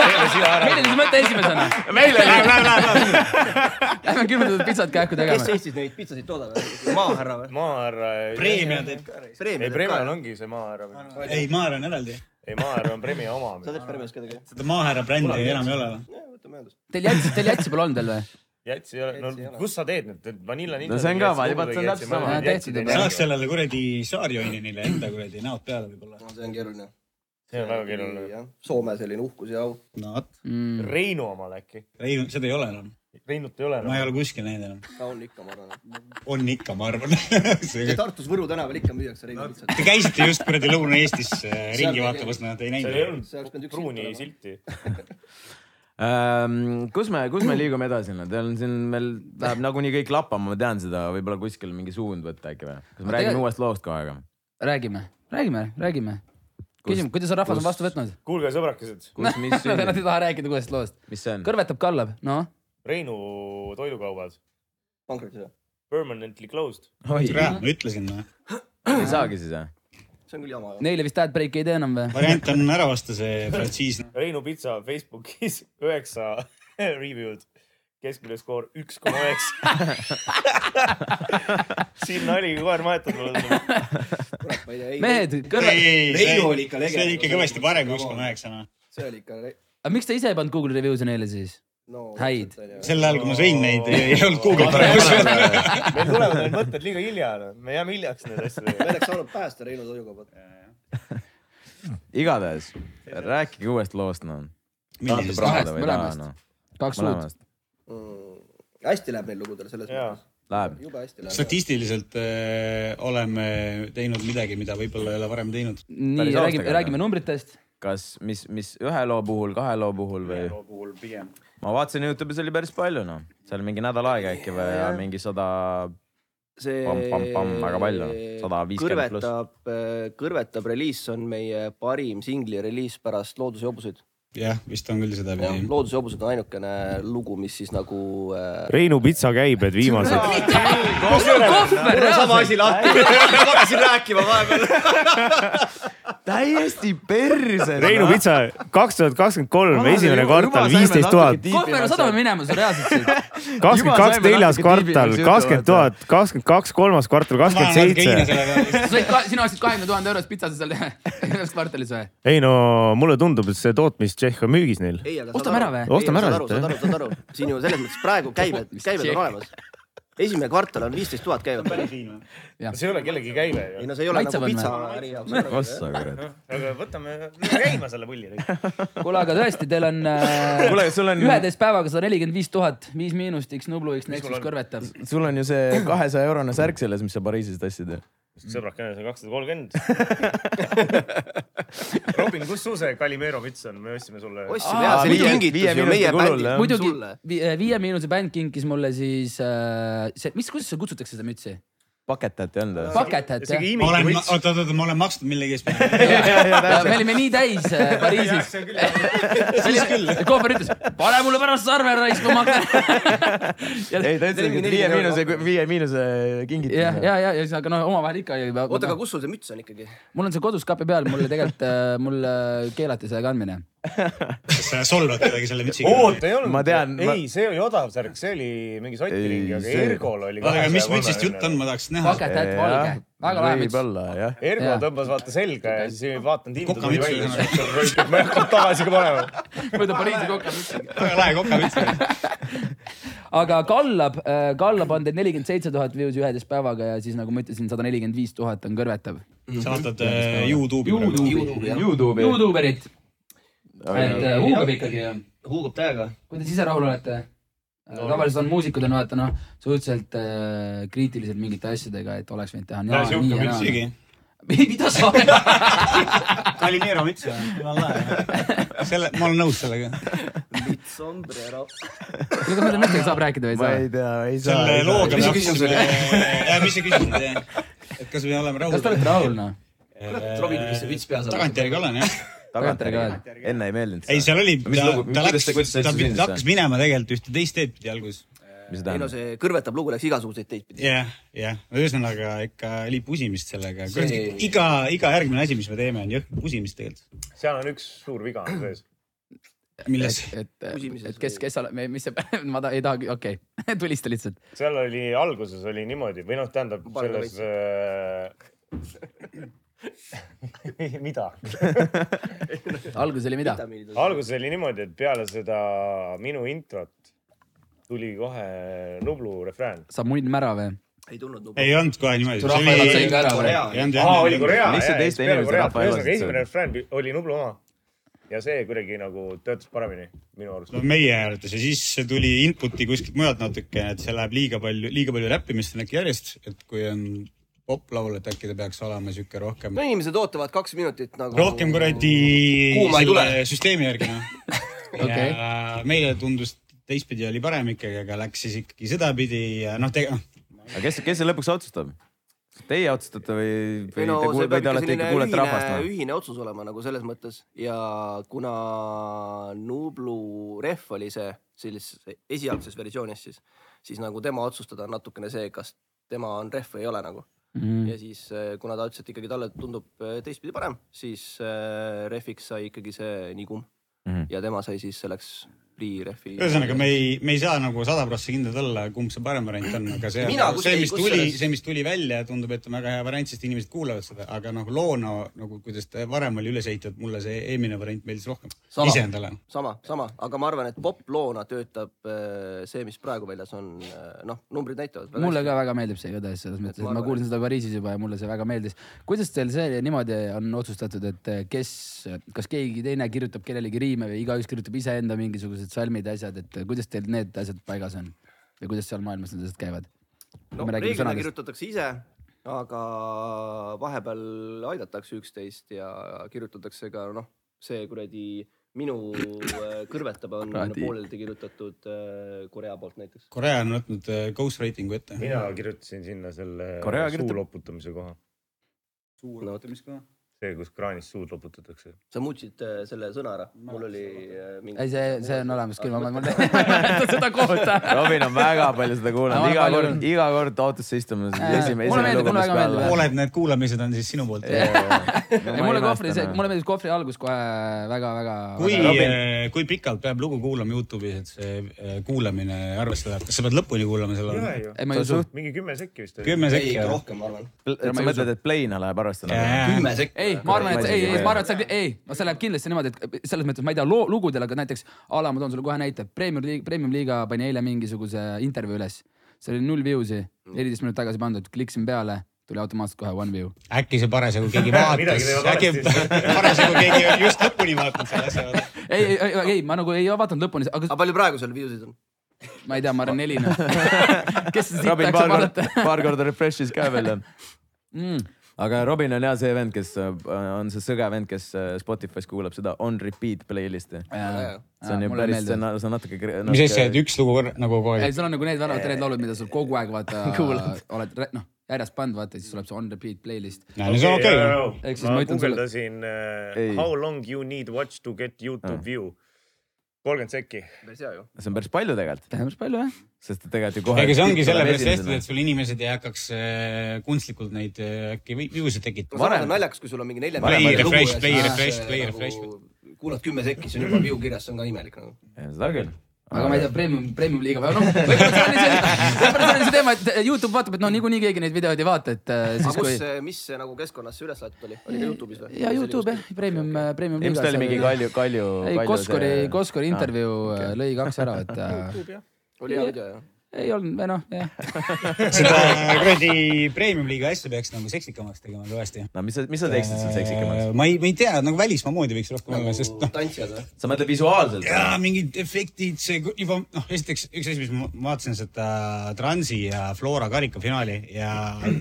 A: meile siis mõte esimesena .
J: Meile läheb , läheb , läheb .
A: Lähme külmutatud pitsat kähku
G: kes
A: tegema .
G: Eestis neid pitsasid toodab ? maahärra või ?
J: maahärra .
H: Premia teeb ka .
J: ei ,
G: Preemiad
J: Premial
G: ka .
J: ongi see maahärra või ?
H: ei , Maarja on eraldi .
J: ei , maahärra on Premia oma
G: sa . teed Preemias ka tegelikult ?
H: seda Maahärra brändi enam ei ole või ?
G: jah , võtame ühendust .
A: Teil jätsi , teil jätsi pole olnud veel või ?
J: jätsi ei ole ,
G: Jätsi ei ole.
J: no kus sa teed nüüd , vanilla ninja .
C: No see on ka, vaat see on täpselt sama.
A: Jaa, tehtud juba.
H: saaks sellele kuradi saarjoinile enda kuradi näod peale võib-olla .
G: see on keeruline .
J: see on väga keeruline .
G: jah , Soome selline uhkus ja au .
H: no vot ,
A: Mm.
J: Reinu omal äkki ?
H: ei , seda ei ole enam .
J: Reinut ei ole
H: ma ei
J: enam .
H: ole kuskil näinud enam .
G: ta on ikka , ma arvan .
H: on ikka , ma arvan .
G: Tartus Võru tänaval ikka müüakse Reinu pitsat .
H: Te käisite just kuradi Lõuna-Eestis äh, ringi vaatamas , nad ei
J: seal ei
H: näinud .
G: See
J: olnud
G: oleks pidanud üks
J: pruuni
G: silt
J: silti .
C: Ehm, kus me , kus me liigume edasi nüüd ? Teil on siin veel , läheb nagunii kõik lappama , ma tean seda , võib-olla kuskil mingi suund võtta äkki või ? kas me
A: Aga
C: räägime
A: tegelikult-
C: uuest loost kohe , aga ?
A: räägime , räägime , räägime . küsime , kuidas on rahvas on vastu võtnud ?
J: kuulge , sõbrakesed ,
C: kus , mis
A: Nad ei
C: sünnib ,
A: taha rääkida uuest loost .
C: mis see on ?
A: kõrvetab , kallab , noh .
J: Reinu toidukaubad
G: pankrotis või ?
J: permanently closed .
C: oi ,
H: ma ütlesin , noh.
C: ei saagi siis või ?
G: see on küll jama .
A: Neile vist ad break ei tee enam või ?
H: variant on ära vasta see frantsiis .
J: Reinu pitsa Facebookis üheksa review'd , keskmine skoor üks koma üheksa . siin naligi koer maetud mulle tundub .
G: kurat , ma ei tea , ei .
A: mehed , kõrve ,
H: see
G: Reinu oli ikka legend.
H: see oli ikka kõvasti parem kui üks koma üheksa , noh .
G: see oli ikka ,
A: aga miks te ise ei pannud Google review'se neile siis ?
G: no .
A: Häid. .
H: sel ajal , kui ma sõin neid , ei ei olnud Google parem .
J: meil tulevad need mõtted liiga hilja , me jääme hiljaks nende asjadega .
G: me oleks saanud päästa Reinu toidukaupat .
C: igatahes rääkige uuest loost , noh . tahate
H: millisest ?
C: praada või ei taha ,
A: mõlemast.
C: noh .
A: kaks suud .
C: mõlemast .
G: Mm. hästi läheb neil lugudel selles
J: Jaa.
G: mõttes .
C: Läheb .
G: jube hästi läheb .
H: statistiliselt äh, oleme teinud midagi , mida võib-olla ei ole varem teinud .
A: nii ,
C: Päris
A: räägime ,
C: aastaga,
A: räägime numbritest .
C: kas , mis , mis ühe loo puhul , kahe loo puhul või ?
H: puhul pigem .
C: ma vaatasin Youtube'is oli päris palju , noh . seal mingi nädal aega äkki või ja mingi sada ,
G: see
C: Pamm-pamm-pamm, väga palju, 150 pluss.
G: kõrvetab , kõrvetab reliis on meie parim singli reliis pärast Looduse hobuseid .
H: jah , vist on küll seda pidi .
G: looduse hobused on ainukene lugu , mis siis nagu äh, .
L: Reinu pitsakäibed viimased .
A: kohver reaalselt .
G: lahti , ma hakkasin rääkima vahepeal .
C: täiesti perse .
L: Reinu pitsa kaks tuhat kakskümmend kolm , esimene kvartal viisteist tuhat ,
A: kohver on sadama minemas reaalselt siit .
L: kakskümmend kaks neljas kvartal , kakskümmend . tuhat , kakskümmend kaks kolmas kvartal , kakskümmend seitse .
A: sa said , sina ostsid kahekümne tuhande eurost pitsa seal ühes kvartalis või ?
L: ei no mulle tundub , et see tootmis Tšehh on müügis neil .
A: Ostame ära või?
L: Ostame ära siit,
G: siit . saad aru , saad aru , siin ju selles mõttes praegu käibed , käibed on olemas . esimene kvartal on viisteist tuhat käivet .
J: see ei ole kellegi käive
G: ei
J: ju .
G: no see ei ole
A: Maitsev
G: nagu
A: on
G: pitsa
A: või?
G: äri jaoks .
C: ossa kurat .
J: aga võtame käima selle pulli .
A: kuule , aga tõesti , teil on äh,
C: Kuule, aga sul on-
A: üheteist päevaga sada nelikümmend viis tuhat , viis miinust , X Nublu , X Nexus kõrvetab .
C: sul on ju see kahesaja eurone särk selles , mis sa Pariisis tassid ju .
J: sõbrakene , see on kakssada kolmkümmend . Robin , kus sul see Calimero müts on , me ostsime sulle .
G: ostsime jah , see oli
C: viie- viie
G: kingitus ju
C: minuti
G: meie
C: kulul,
G: bändile
C: jah. .
A: muidugi vi- äh, Viie Miinuse bänd kinkis mulle siis äh, see , mis , kuidas seda kutsutakse seda mütsi ?
C: paketat ei olnud või ?
A: Bucket hat jah ?
H: ma olen , oot , oot , oot , ma olen maksnud millegi eest .
A: me olime nii täis äh, Pariisis . kohver ütles , pane mulle pärast sarve raisk , ma hakkan .
C: ei , ta ütles , et viie miinuse , viie miinuse
A: jah ,
C: kingitus .
A: ja , ja , ja siis , aga noh , omavahel ikka .
G: oota , aga kus sul see müts on ikkagi ?
A: mul on see kodus kapi peal , mulle tegelikult , mulle keelati selle kandmine .
H: kas sa solvad kedagi selle mütsiga ?
J: oota , ei olnud .
C: Ma tean, ma-
J: ei , see oli odav särk , see oli mingi Soti
C: Ei,
J: ringi , aga
C: see-
J: Ergol oli .
H: oota , aga mis mütsist jutt on , ma tahaks näha .
A: Bucket hat valge , väga lahe müts .
C: võib-olla jah .
J: Ergo
A: Jaa.
J: tõmbas vaata selga ja siis ei vaadanud hinda tuli
H: Kokamüts
J: välja
H: oli .
J: ma ei hakanud tagasi ka panema .
A: mööda Pariisi kokku .
H: väga lahe kokamüts .
A: aga kallab , kallab on teil nelikümmend seitse tuhat views üheteist päevaga ja siis nagu ma ütlesin , sada nelikümmend viis tuhat on kõrvetav .
H: sa vaatad äh, Youtube'i praegu .
A: Youtube'i ,
C: Youtube'i .
A: Youtuberit , et äh, huugab ikkagi ja
G: huugub täiega .
A: kuidas ise rahul olete ? tavaliselt on muusikud on vaata noh , suhteliselt äh, kriitilised mingite asjadega , et oleks võinud teha nii,
H: näe ,
A: nii
H: sihuke
A: ja
H: müts
A: naa .
H: isegi .
A: mida sa ajad ?
H: Calimero müts on , väga lahe . selle , ma olen nõus sellega .
G: sombrero .
A: kas ma selle mõttega saab rääkida või ei
C: ma
A: saa ?
C: ei tea , ei saa .
H: selle looga .
G: Mis su küsimus oli? ?
H: mis see küsimus oli ? et kas me oleme rahul ?
A: kas te olete rahul noh ?
G: Robinil vist see müts peas on .
H: tagantjärgi olen jah .
C: tagantjärgi . enne ei meeldinud .
H: ei , seal oli ,
C: Mis
H: ta
C: lugu- , mis-
H: ta
C: kuidas
H: läks
C: ta- kuidas ,
H: ta,
C: ta asja sündis,
H: ta hakkas minema tegelikult ühte teist teed pidi alguses .
C: mis see
G: ei no
C: tähendab ?
G: see kõrvetab lugu läks igasuguseid teid pidi .
H: jah , jah , ühesõnaga ikka oli pusimist sellega
G: See- .
H: iga , iga järgmine asi , mis me teeme , on jõhk pusimist tegelikult .
M: seal on üks suur viga on sees .
H: milles ?
A: et , et kes , kes , mis see , ma ta, ei tahagi , okei okay. , tulista lihtsalt .
M: seal oli alguses oli niimoodi või noh , tähendab
A: Palga
M: selles äh... . mida ?
A: alguses oli mida ?
H: Ah.
M: alguses oli niimoodi , et peale seda minu introt tuli kohe Nublu refrään .
A: saab munn ära või ?
G: ei tulnud Nublu .
H: ei olnud kohe niimoodi .
A: Rahvaelad said ka ära või ?
M: aa , oli Korea .
C: Miks see teiste inimeste rahvaelasid
M: ühesõnaga
C: sööb?
M: esimene refrään oli Nublu oma ja see kuidagi nagu töötas paremini minu arust
H: no . meie hääletas ja siis see tuli input'i kuskilt mujalt natuke , et see läheb liiga palju , liiga palju räppimist on äkki järjest , et kui on poplaul , et äkki ta peaks olema sihuke rohkem
G: no , inimesed ootavad kaks minutit nagu .
H: rohkem kuradi
G: Kuuma ei
H: selle
G: tule.
H: süsteemi järgi noh
G: Okei.
H: ja meile tundus teistpidi oli parem ikkagi , aga läks siis ikkagi sedapidi ja noh , tegelikult
C: aga kes , kes see lõpuks otsustab ? Teie otsustate või , või
G: ei no
C: te,
G: see
C: kuul- või
G: peab
C: te
G: ikka
C: olete ikka
G: selline
C: kuulete rahvast noh.
G: ühine ,
C: või ?
G: ühine otsus olema nagu selles mõttes ja kuna Nublu ref oli see sellises esialgses versioonis , siis , siis nagu tema otsustada on natukene see , kas tema on ref või ei ole nagu
C: Mm.
A: Mhm.
G: ja siis eh, kuna ta ütles , et ikkagi talle tundub eh, teistpidi parem , siis eh, refiks sai ikkagi see Nigum
C: Mhm.
G: mm -hmm. ja tema sai siis selleks pre-refi .
H: ühesõnaga me ei , me ei saa nagu sada prossa kindlad olla , kumb see parem variant on , aga see
G: Mina ,
H: see ,
G: kusjuures-
H: mis tuli ,
G: kusjuures-
H: see , mis tuli välja , tundub , et on väga hea variant , sest inimesed kuulavad seda , aga nagu loona nagu kuidas ta varem oli üles ehitatud , mulle see eelmine variant meeldis rohkem . iseendale .
G: sama , sama , aga ma arvan , et poploona töötab eh, see , mis praegu väljas on , noh , numbrid näitavad .
A: mulle ka väga meeldib see igatahes selles mõttes , et ma kuulsin seda Pariisis juba ja mulle see väga meeldis . kuidas teil see niimoodi on otsustatud , et kes , kas keegi teine kirjutab kellelegi riime või igaüks kirjutab iseenda mingisugused salmid ja asjad , et kuidas teil need asjad paigas on ja kuidas seal maailmas need asjad käivad ?
G: no reeglina . kirjutatakse ise , aga vahepeal aidatakse üksteist ja kirjutatakse ka noh , see kuradi minu äh, kõrvetab on
H: Kuradi.
G: pooleldi kirjutatud äh, Korea poolt näiteks .
H: Korea on võtnud äh, ghost rating'u ette .
M: mina kirjutasin sinna selle
H: Korea
M: suu
H: kirjutab-
M: loputamise koha ,
G: suur lõpetamiskoha .
M: see , kus kraanis suud loputatakse .
G: sa muutsid äh, selle sõna ära , mul oli äh, mingi .
A: ei , see , see on olemas küll , ma , ma mäletan seda kohta .
C: Robin on väga palju seda
A: Ma
C: kuulanud ,
A: olen
C: iga
A: palju
C: kord ,
A: kuulnud.
C: iga kord autosse istume ,
A: Jaa.
C: esimene ,
A: Mulle
C: esimene
A: meeldib, mulle
C: lugemise
A: väga meeldib.
C: peale .
H: pooled need kuulamised on siis sinu poolt .
A: ei , mulle kohvri , mulle meeldis kohvri algus kohe väga-väga .
H: kui , kui pikalt peab lugu kuulama Youtube'is , et see äh, kuulamine arvestada , kas sa pead lõpuni kuulama selle ?
A: Ei, ma ei usu.
M: mingi kümme sekki vist oli .
H: Kümme sekki, Ei, ikka jah. rohkem,
G: ma arvan .
C: sa mõtled , et Playna läheb arvestama ?
A: Kümme ei , ma arvan , et ei , ei , ma arvan , et see , ei , no see läheb kindlasti niimoodi , et selles mõttes ma ei tea loo- lugudel , aga näiteks a la ma toon sulle kohe näite , Premium liiga , Premium liiga pani eile mingisuguse intervjuu üles , seal oli null views'i , neliteist minutit tagasi pandud , kliksin peale , tuli automaatselt kohe one view .
H: äkki see parasjagu keegi vaatas , äkki parasjagu keegi just lõpuni vaatas selle asja .
A: ei , ei , ei, ei , ma nagu ei vaadanud lõpuni , aga .
G: aga palju praegu seal viewsid on ?
A: ma ei tea , ma arvan neli noh . kes siit
C: Robin
A: tahaks
C: paar korda
A: vaadata ?
C: paar korda refresh'is ka veel .
A: Mm.
C: aga Robin on jah see vend , kes äh, on see sõge vend , kes äh, Spotify's kuulab seda on repeat playlist'i .
A: jaa.
C: see on
A: Jaa,
C: ju
A: mulle
C: päris ,
A: meeldib.
C: see on , see on natuke .
H: mis asja , et üks lugu korra- nagu kogu
A: ei ,
H: aeg .
A: sul on nagu need väravad , need laulud , mida sul kogu aeg vaata
C: Kuulad. ,
A: oled rä- noh , järjest pannud , vaata siis tuleb see on repeat playlist .
H: Näe, no see on okei.
A: ehk siis
M: ma
A: ma ütlen sulle ,
M: guugeldasin
C: Ei.
M: uh, how long you need watch to get Youtube
C: Ah.
M: view . kolmkümmend sekki .
G: päris hea ju .
C: see on päris palju tegelikult .
A: päris palju jah .
C: sest et tegelikult ju kohe .
H: ega see ongi sellepärast tehtud , et sul inimesed ei hakkaks äh, kunstlikult neid äh, äkki vi- viuse
G: no
H: tekitama .
G: samas on naljakas , kui sul on mingi nelja
H: Play,
G: minuti lugu
H: refresh,
G: ja
H: play,
G: siis,
H: refresh,
G: äh,
H: play,
G: nagu
H: refresh.
G: kuulad kümme sekki , siis on juba view kirjas , see on ka imelik nagu .
C: seda küll .
A: aga ma ei tea , premium , premium liiga või noh , võib-olla see oli see , võib-olla see oli see teema , et Youtube vaatab , et no niikuinii keegi neid videoid ei vaata , et äh,
G: aga
A: siis kui
G: kus , mis see nagu keskkonnas see üles laetud oli , oli ka Youtube'is või ?
A: ja Youtube jah , premium , premium äh,
C: ilmselt oli mingi Kalju , Kalju . Ah.
A: ei , Koskori , Koskori intervjuu äh, lõi kaks ära , et äh,
G: oli hea video jah .
A: ei olnud või noh , jah .
H: seda kuradi premium liiga asja peaks nagu seksikamaks tegema kõvasti .
C: no mis sa , mis sa teeksid seal seksikamaks ?
H: ma ei , ma ei tea , nagu välismaa moodi võiks rohkem olla , sest noh .
G: Nagu tantsijad või ?
C: sa mõtled visuaalselt ?
H: jaa , mingid efektid , see ku- juba noh , esiteks üks asi , mis ma ma vaatasin seda Transi ja Flora karika finaali ja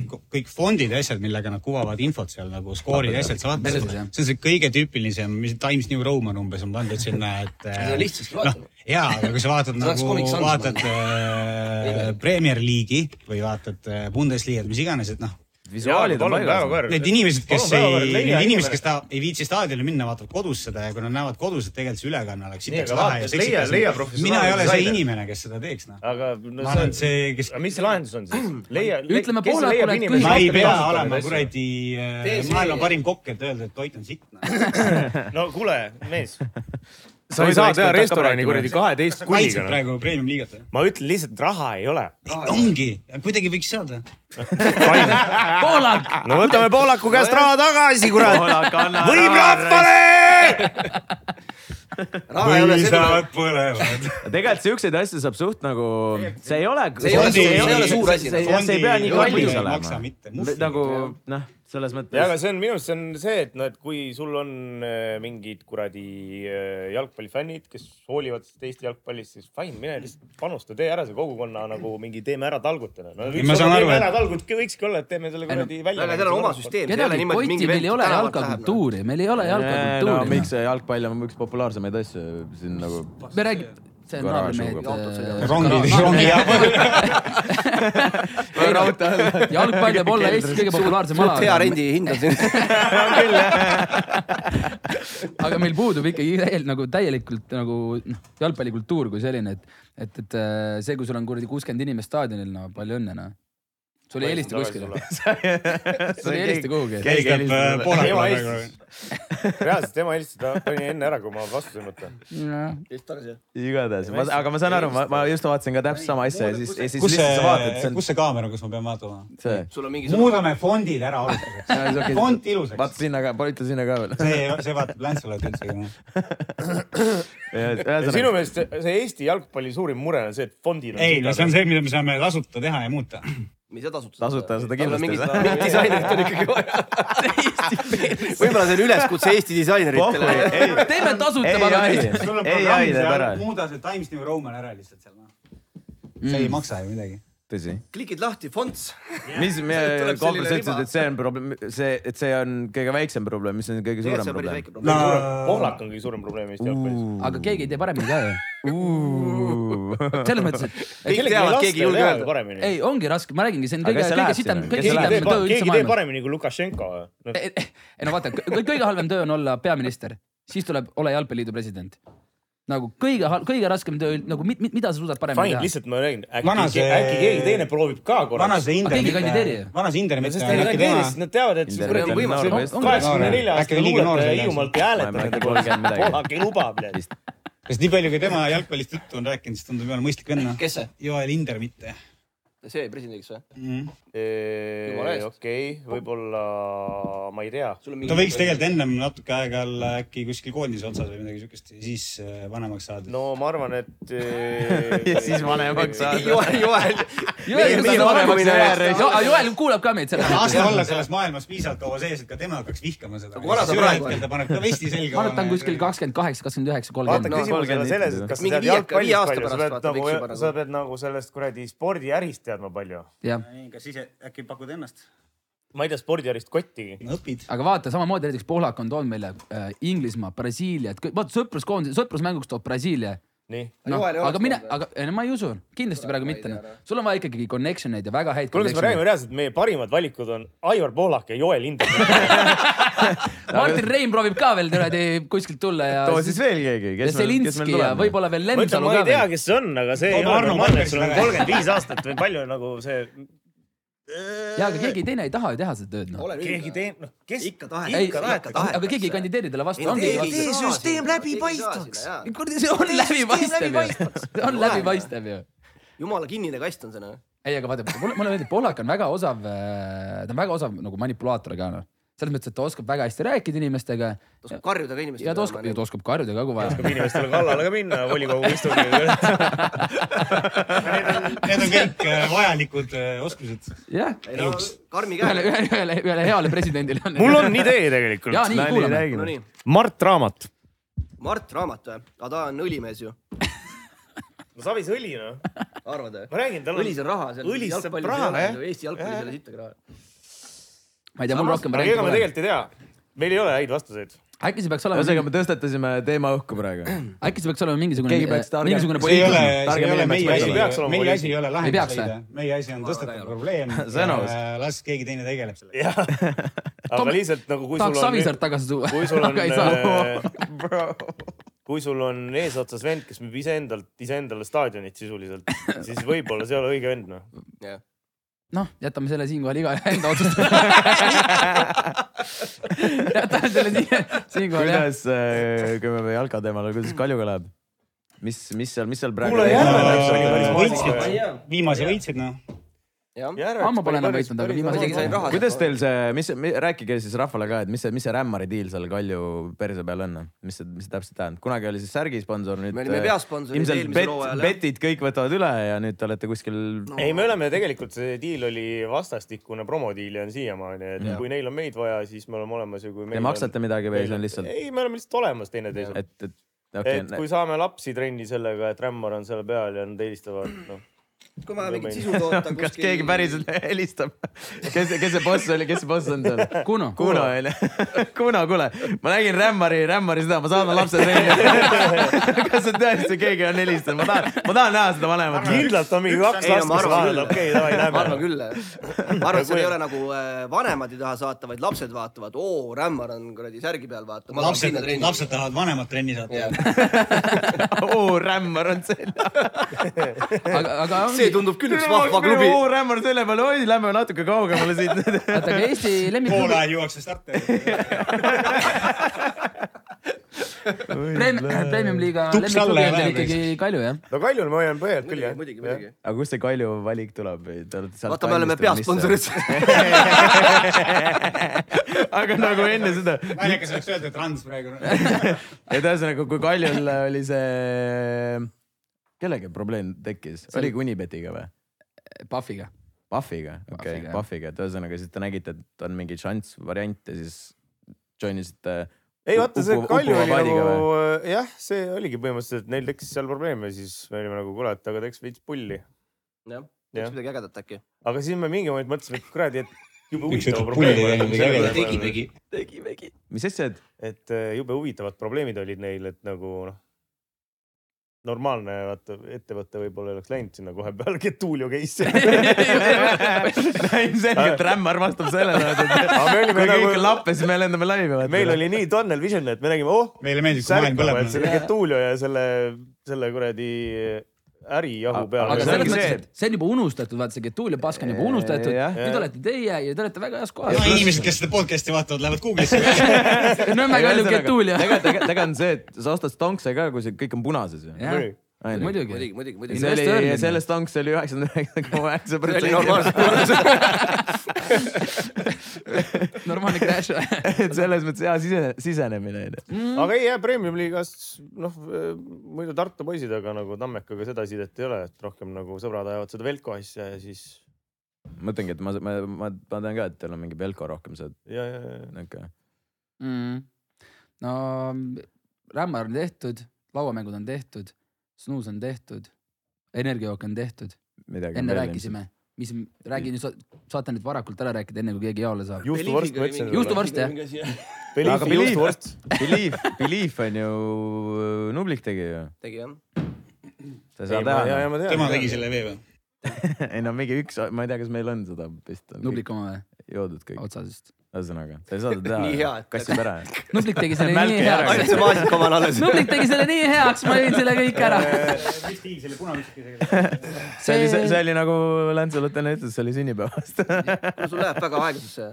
H: ku- kõik fondid ja asjad , millega nad kuvavad infot seal nagu skoorid ja asjad , sa vaatad
A: Päriselt,
H: seda
A: jah. ,
H: see on see kõige tüüpilisem , mis Times New Roman umbes on pandud sinna , et .
G: Seda on lihtsasti vaatama.
H: jaa , aga kui sa vaatad
G: See oleks
H: nagu
G: Comic Sans ,
H: vaatad äh, Premier League'i või vaatad äh, Bundesliga't , mis iganes , et noh
C: visuaalid on paigas .
H: Need inimesed , kes ei , need inimesed , kes ta ei viitsi staadionile minna , vaatavad kodus seda ja kui nad näevad kodus , et tegelikult see ülekanne oleks sitaks
J: aga
H: lahe
J: vaata,
H: ja
J: leia-
H: seksikas
J: leia . professionaalne
H: mina ei ole see
J: disainer.
H: inimene , kes seda teeks , noh .
J: aga no,
H: ma arvan , et see , kes .
J: aga mis see lahendus on siis ? leia ,
H: ütleme poolakule , et kõik . ma ei pea olema kuradi äh,
J: Tee see.
H: maailma parim kokk , et öelda , et toit on sitt . noh.
J: no kuule , mees .
H: Sa ei saa teha restorani kuradi
J: 12
H: kunniga, Kaitsed noh. praegu premium liigat või ?
J: ma ütlen lihtsalt , raha ei ole .
H: ongi , kuidagi võiks saada .
A: Poolak .
N: no võtame poolaku käest raha tagasi , kurat
J: Poolak, . anna
N: võib
J: raha
N: rahvale .
C: Raha ei ole seda- Põlisad
H: põlevad .
C: tegelikult siukseid asju saab suht nagu , see ei ole . noh.
G: See ei ole- see ei ole suur asi. noh.
C: see see ei pea nii
G: Fondi-
C: kallis
G: ei
C: olema
G: maksa mitte muhvigi. .
C: nagu noh , selles mõttes .
J: ja aga see on minu arust , see on see , et noh , et kui sul on äh, mingid kuradi äh, jalgpallifännid , kes hoolivad sest Eesti jalgpallist , siis fine , mine lihtsalt panusta , tee ära see kogukonna nagu mingi teeme ära talgutena no, .
H: ma saan aru, et-
J: teeme ära talgut võikski olla , et teeme selle kuradi välja .
A: kedagi koti meil ei ole jalkakultuuri , meil ei
G: nagu-
A: ole
C: no
A: jalkakultuuri .
C: miks see jalgpall on üks populaarsemaid asju siin nagu .
A: me räägime , see on äh,
C: Garaaž
A: naabrimehed .
C: Rongid-
H: rongi
G: noh.
A: raudtee . jalgpall jääb olla Eesti kõige populaarsem ala .
G: hea rendihind on siin .
A: aga meil puudub ikkagi täiel, nagu täielikult nagu noh , jalgpallikultuur kui selline , et , et , et äh, see , kui sul on kuradi kuuskümmend inimest staadionil , no palju õnne noh . sul ei helista kuskile . sul ei helista kuhugi .
H: äh, nagu.
J: reaalselt tema helistas , ta pani enne ära , kui ma vastu ei mõtle .
C: igatahes , aga ma saan aru , ma , ma just vaatasin ka täpselt sama asja ja siis , ja siis
H: kus
C: lihtsalt sa vaatad ,
H: see
C: see , on
H: kus see kaamera , kus ma pean vaatama ?
C: see .
G: sul on mingi
H: muudame fondid ära alustuseks . fond ilusaks .
C: vaata sinna ka , ütle sinna ka veel .
H: see , see vaatab läntsule üldse .
J: sinu meelest see see Eesti jalgpalli suurim mure on see , et fondid on .
H: ei , no see on see , mida me saame tasuta teha ja muuta .
G: me ei saa tasuta .
C: tasuta seda
G: kindlasti ei
C: kindlasti
G: saa. Mingit disainerit on ikkagi
C: vaja .
G: võib-olla see on üleskutse Eesti disaineritele .
A: teeme tasuta ,
C: Ei,
A: ma
C: ei,
A: arvan .
H: sul on
C: Ei
H: programm
C: aida
H: seal
C: ära. ,
H: muuda see Times New Roman ära lihtsalt seal , noh . see ei maksa ju midagi .
C: tõsi .
G: klikid lahti , fonts .
C: mis , Kohver , sa ütlesid , et see on probleem , see , et see on kõige väiksem probleem , mis on kõige suurem probleem ?
H: No-
J: pohlak on kõige suurem probleem Eesti jalgpallis .
A: aga keegi ei tee paremini ka ju . selles mõttes , et .
G: Kõik teavad, keegi ei julge öelda.
J: paremini .
A: ei , ongi raske , ma räägingi , see on
C: Aga
A: kõige
C: kes , see
A: kõige
C: läheb
A: sitem ,
C: sinna?
A: kõige
C: Kes
A: sitem
C: läheb?
A: töö üldse
J: keegi teeb
A: maailmas .
J: paremini kui Lukašenko .
A: ei , ei no vaata , kõige halvem töö on olla peaminister , siis tuleb ole jalgpalliliidu president . nagu kõige , kõige raskem töö , nagu mi- mi- mida sa suudad paremini
J: Fine ,
A: teha .
J: lihtsalt ma räägin ,
H: Vana
J: äkki ,
H: see-
J: äkki keegi teine proovib ka
H: vana
J: korraks .
H: see
A: Aga keegi ei kandideeri
H: internet
A: ju. ,
H: vana see internet .
J: sest neil on teenis , siis nad teavad , et see
C: Internet
J: kuradi
C: on
J: võimas
C: noor
J: on
C: mees.
J: kaheksakümne nelja
H: Äkki
J: aastane
H: liiga noor
J: luuletaja
H: selleks.
J: Hiiumaalt ei
C: Ma ei
J: hääleta ,
C: mäleta, kolmkümmend midagi.
J: pohlak ei luba , pled .
H: sest nii palju , kui tema jalgpallist juttu on rääkinud , siis tundub jumala mõistlik venna .
G: kes see ?
H: Joel Hinder mitte
G: see presidendiks või ?
H: mm. .
G: Jumala eest.
J: okei , võib-olla , ma ei tea .
H: ta võiks tegelikult ennem natuke aega olla äkki kuskil koondise otsas või midagi siukest ja siis äh, vanemaks saada .
J: no ma arvan , et .
C: ja siis vanemaks saad .
G: Joel , Joel .
A: Joel ,
G: Meie vanemaks järjest.
A: Joel kuulab ka meid selles mõttes .
H: lasta olla selles maailmas piisavalt kaua sees , et ka tema hakkaks vihkama seda .
G: Kui vana ta
H: ühel
G: praegu
H: hetkel
G: on?
H: ta paneb ka vesti selga .
A: ma arvan , et ta on kuskil . kakskümmend kaheksa , kakskümmend üheksa ,
J: vaata ,
A: kolmkümmend .
J: küsimus ei ole
C: kolmkümmend
J: selles ,
C: liitrit,
J: et kas sa
G: mingi
J: tead
G: viie- viie
J: jalgpallist palju ,
G: aasta
J: sa pead
G: pärast vaata, võiks juba
J: nagu ,
G: nagu-
J: sa pead nagu sellest kuradi spordiärist teadma palju .
A: jah ,
H: kas ise äkki pakud ennast ?
J: ma ei tea spordiärist kottigi .
H: õpid .
A: aga vaata samamoodi näiteks Poolak on toonud meile äh, Inglismaa , Brasiilia , et kõik- vaata sõpruskoondise , sõprusmänguks toob Brasiilia .
J: nii .
A: noh ,
G: Joel ei
A: aga
G: oleks
A: mine ,
G: toonud
A: aga ei, no ma ei usu , kindlasti praegu mitte
G: tea, .
A: sul on vaja ikkagi connection eid ja väga häid .
J: kuule , kas me räägime reaalselt , meie parimad valikud on Aivar Pohlak ja Joel Hindrek .
A: Martin Reim proovib ka veel kuradi kuskilt tulla ja .
C: too siis veel keegi ,
A: ja
C: kes meil , kes meil
A: Zelinski ja
C: tuleb .
A: võib-olla veel
J: ma ütlen ,
A: Lemsalu
J: ma
A: ka
J: ei tea ,
A: veel .
J: kes see on , aga see ei
H: Toob
J: ole
H: Arno
J: normaalne , et
H: Margus
J: sul on
H: väga-
J: kolmkümmend viis aastat või palju nagu see ,
A: ja , aga keegi teine ei taha ju teha seda tööd noh .
J: keegi teeb , noh , kes .
G: ikka tahetakse ,
A: ei ,
G: ikka tahetakse .
A: aga keegi ei kandideeri talle vastu , ongi .
G: tee süsteem läbipaistvaks .
A: kuradi , see on läbipaistev ju . see on läbipaistev ju
G: jumala kinnine kast on see noh .
A: ei , aga vaata , mulle , mulle meeldib , Poolak on väga osav , ta on väga osav nagu manipulaator ka noh . selles mõttes , et ta oskab väga hästi rääkida inimestega
G: ta oskab karjuda ka inimestele .
A: ja ta oskab , ta oskab karjuda ka kui
J: oskab
A: vaja .
J: inimestele kallale ka minna volikogu istungil .
H: Need on kõik äh, vajalikud äh, oskused .
A: jah ,
G: oskab . karmi
A: ühele ,
G: käe .
A: ühele , ühele , ühele heale presidendile on .
J: mul on idee tegelikult .
A: ja nii , kuulame .
G: no nii ,
N: Mart Raamat .
G: Mart Raamat või ? aga ta on õlimees ju ,
J: no Savis õli noh ,
G: arvad või ?
J: ma räägin , tal on .
G: õlis on raha seal .
J: õlis saab raha jah .
G: Eesti jalgpallis ei ole sittagi raha .
A: ma ei tea , mul rohkem
J: aga ega ma
A: variante pole .
J: tegelikult ei tea , meil ei ole häid vastuseid .
A: äkki see peaks olema .
C: ühesõnaga , me tõstatasime teema õhku praegu .
A: äkki see peaks olema mingisugune
C: Keegi , peaks targem-
A: mingisugune
C: See ei ole-
A: poliitiline-
C: see ei ole
A: targem
C: meie
A: inimene
C: asi.
A: peaks olema.
C: peaks olema
H: meie asi
C: poliitik-
H: ei ole
A: Ei peaks,
H: lahendus leida
A: jah. ,
H: meie asi on tõstatada probleem
C: Sõnavõtt.
H: ja äh, las keegi teine tegeleb sellega .
J: aga lihtsalt nagu kui sul
A: tahaks
J: on .
A: Savisaart tagasi tuua ,
J: kui sul on äh,
A: aga ei saa .
J: kui sul on eesotsas vend , kes müüb iseendalt , iseendale staadionit sisuliselt , siis võib-olla see ei ole õige vend , noh .
A: noh , jätame selle siinkohal iga enda otsustada . jätame selle siin , siinkohal jah .
C: kuidas , kui me jalka teemal , kuidas Kaljuga läheb ? mis , mis seal , mis seal praegu ?
J: Kuule, Järve läks, oli päris
H: Äh, võitsid
J: maha. ,
H: viimasi võitsid noh .
A: ammu pole enam võitnud , aga
G: Isegi sain
A: viimased .
G: raha .
C: kuidas teil see , mis , rääkige siis rahvale ka , et mis see , mis see rämmari diil seal Kalju perse peal on , mis see , mis see täpselt tähendab , kunagi oli siis särgi sponsor , nüüd .
G: me olime peasponsorid
C: ilmselt
G: eelmisel
C: bet,
G: hooajal, jah.
C: betid kõik võtavad üle ja nüüd te olete kuskil no. .
J: ei , me oleme tegelikult , see diil oli vastastikune promodiil ja on siiamaani , et
C: Jah.
J: kui neil on meid vaja , siis me oleme olemas ja kui .
C: Te maksate midagi või see on lihtsalt ,
J: ei , me oleme lihtsalt olemas teineteisel .
C: et , et okei
J: et kui
C: okay, ,
J: saame lapsi trenni sellega , et rämmar on seal peal ja nad eelistavad , noh .
G: kui ma mingit sisu tootan kuskil .
C: kas keegi päriselt helistab ? kes , kes see boss oli , kes see boss on seal ?
A: Kuno ,
C: Kuno onju , Kuno , kuule , ma nägin Rämmari , Rämmari seda , ma saadan lapse trenni . kas see tõesti keegi on helistanud , ma tahan , ma tahan näha seda vanemat .
J: kindlalt on mingi kaks
G: Ei, no
J: last ,
G: ma
J: kes
G: arvan
J: vaatavad , okei , davai ,
G: ma arvan
J: lähme .
G: küll , ma arvan , et seal ei ole nagu äh, vanemad ei taha saata , vaid lapsed vaatavad , oo , rämmar on kuradi särgi peal , vaata .
H: lapsed , lapsed tahavad vanemat trenni saata .
C: oo , Rämmar on selja .
A: aga , aga
G: see
A: ongi ,
G: tundub küll üks vahva klubi .
C: oo , Rämmar on selja peal , oi , lähme natuke kaugemale siit .
A: vaata aga Eesti
H: pool
A: lemmikklubi ,
H: ajal juuakse starti .
A: äh, premium liiga
H: Tuks
A: lemmikklubi on teil
H: alla ja läheb
A: ikkagi Kalju jah .
J: no Kaljul ma hoian põhjalt küll , jah .
G: muidugi , muidugi .
C: aga kust see Kalju valik tuleb ?
G: vaata , me oleme . peasponsorid .
C: aga nagu enne seda ,
H: naljakas oleks öelda , et Rans praegu .
C: et ühesõnaga , kui Kaljul oli see , kellega probleem tekkis , oli Unibetiga või ?
A: Pahviga .
C: Puffiga , okei
A: Puffiga, , jah.
C: Puffiga , et ühesõnaga siis te nägite , et on mingi šanss , variant ja siis join isite .
J: ei vaata , see Kalju oli nagu
C: või ?,
J: jah , see oligi põhimõtteliselt , neil tekkis seal probleem ja siis me olime nagu , kuule , et aga teeks veits pulli .
G: jah , teeks midagi ägedat äkki .
J: aga siis me mingi moment mõtlesime , et kuradi , et jube
H: üks
J: huvitav
H: ütleb pulli ja mingi ägeda
J: probleem oli .
H: tegi .
C: tegimegi . mis asja , et
J: et eh, jube huvitavad probleemid olid neil , et nagu noh , normaalne vaata ettevõte võib-olla ei oleks läinud sinna kohe peale , Getulio case .
C: ilmselgelt Rämmar vastab sellele , et
J: aga me
C: kui
J: olime
C: kõik on
J: nagu ,
C: lappe , siis me lendame laivi .
J: meil . oli nii tunnel vision , et me nägime , oh ,
H: meile meeldib , kui maailm nagu- põleb .
J: särkama , et selle Getulio ja selle , selle kuradi ärijahu peale .
A: aga
C: see
A: selles
C: ongi
A: mõttes ,
C: see,
A: et see on juba unustatud , vaata see Getulio pask on juba unustatud ,
C: Jah.
A: nüüd olete teie ja te olete väga heas
H: no
A: kohas .
H: inimesed , kes seda podcast'i vaatavad , lähevad Google'isse .
A: Nõmme Kalju Getulio .
C: tegelikult , tegelikult on see , et sa ostad stonkse ka , kui see kõik on punases ju .
J: nagu
C: muidugi .
A: muidugi
G: muidugi ,. muidugi , muidugi .
C: see oli , selle stonks oli üheksakümmend üheksa koma üheksa
G: see oli
C: protsenti .
G: normaalselt korras .
A: normaalne crash .
C: et selles mõttes hea sise , sisenemine onju .
J: aga ei jää Premium-liigas , noh eh, muidu Tartu poisid , aga nagu Tammekaga seda sidet ei ole , et rohkem nagu sõbrad ajavad seda Velko asja ja siis
C: mõtlengi , et ma , ma , ma , ma tean ka , et teil on mingi Belko rohkem see ,
J: ja , ja , ja .
C: niuke .
A: Mm. no Rämmar on tehtud , lauamängud on tehtud , snuus on tehtud , energiajook on tehtud ,
C: midagi .
A: enne . rääkisime , mis , räägi nüüd , saate nüüd varakult ära rääkida , enne kui keegi jaole saab .
J: juustuvorst ma ütlesin .
A: juustuvorst jah ,
C: aga
J: Beliefi
C: Believe
J: juustuvorst .,
C: Believe , Believe on ju , Nublik tegi ju .
G: tegi jah .
C: sa ei saa
J: ja , ja
C: teha .
J: ma tean .
H: tema tegi . selle vee või ?
C: ei no mingi üks , ma ei tea , kas meil on seda vist .
A: Nublik oma või ,
C: joodud kõik ,
A: otsasest .
C: ühesõnaga , sa ei saa seda teha
G: Nii hea, . et-
C: kassib ära .
A: Nublik tegi selle nii
C: Märki ära.
A: heaks
G: ainult . see maasika oma on alles .
A: Nublik tegi selle nii heaks , ma jõin selle kõik ära .
H: mis tiim selle punamiskiga ?
C: see oli , see oli nagu Lantsulat enne ütles , see oli sünnipäevast .
G: sul läheb väga aeglasesse .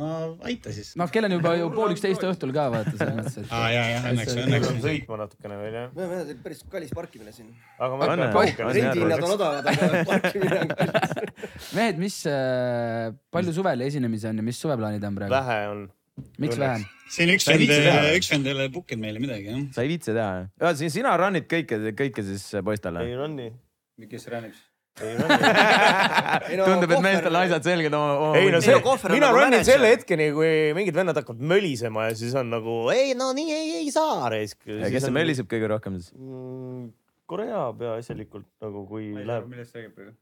H: no aita siis .
A: noh , kell on juba ju pool üksteist õhtul ka vaata selles mõttes , et
H: aa ja , ja õnneks , õnneks .
J: sõitma natukene veel jah .
G: me oleme päris kallis parkimine siin .
J: aga ma
C: On
J: ei pea
C: või? On
J: kaugele
C: jah.
G: rendihinnad on odavad , aga parkimine on kallis .
A: mehed , mis , palju suvel esinemisi on ja mis suveplaanid on praegu ?
J: vähe on .
A: miks vähem ?
H: siin üks
C: Sa ei
H: vend äh,
C: viitsi teha. ,
H: üks vend ei ole book inud meile midagi jah .
C: sa ei viitsi teha jah ? ühesõnaga , sina run'id kõike , kõike siis äh, poistele
J: ei . run'i .
H: kes räägib ?
G: no
C: tundub , et
G: kohver-
C: meestel asjad selged oma , oma .
J: ei no see
G: no kohver , on
J: mina
G: nagu
J: run'in
G: manager.
J: selle hetkeni , kui mingid vennad hakkavad mölisema ja siis on nagu ei no nii ei , ei saa raisk .
C: ja kes see möliseb kõige rohkem siis ?
J: Mm, Korea peaasjalikult nagu kui läheb ,
H: millest räägib praegu .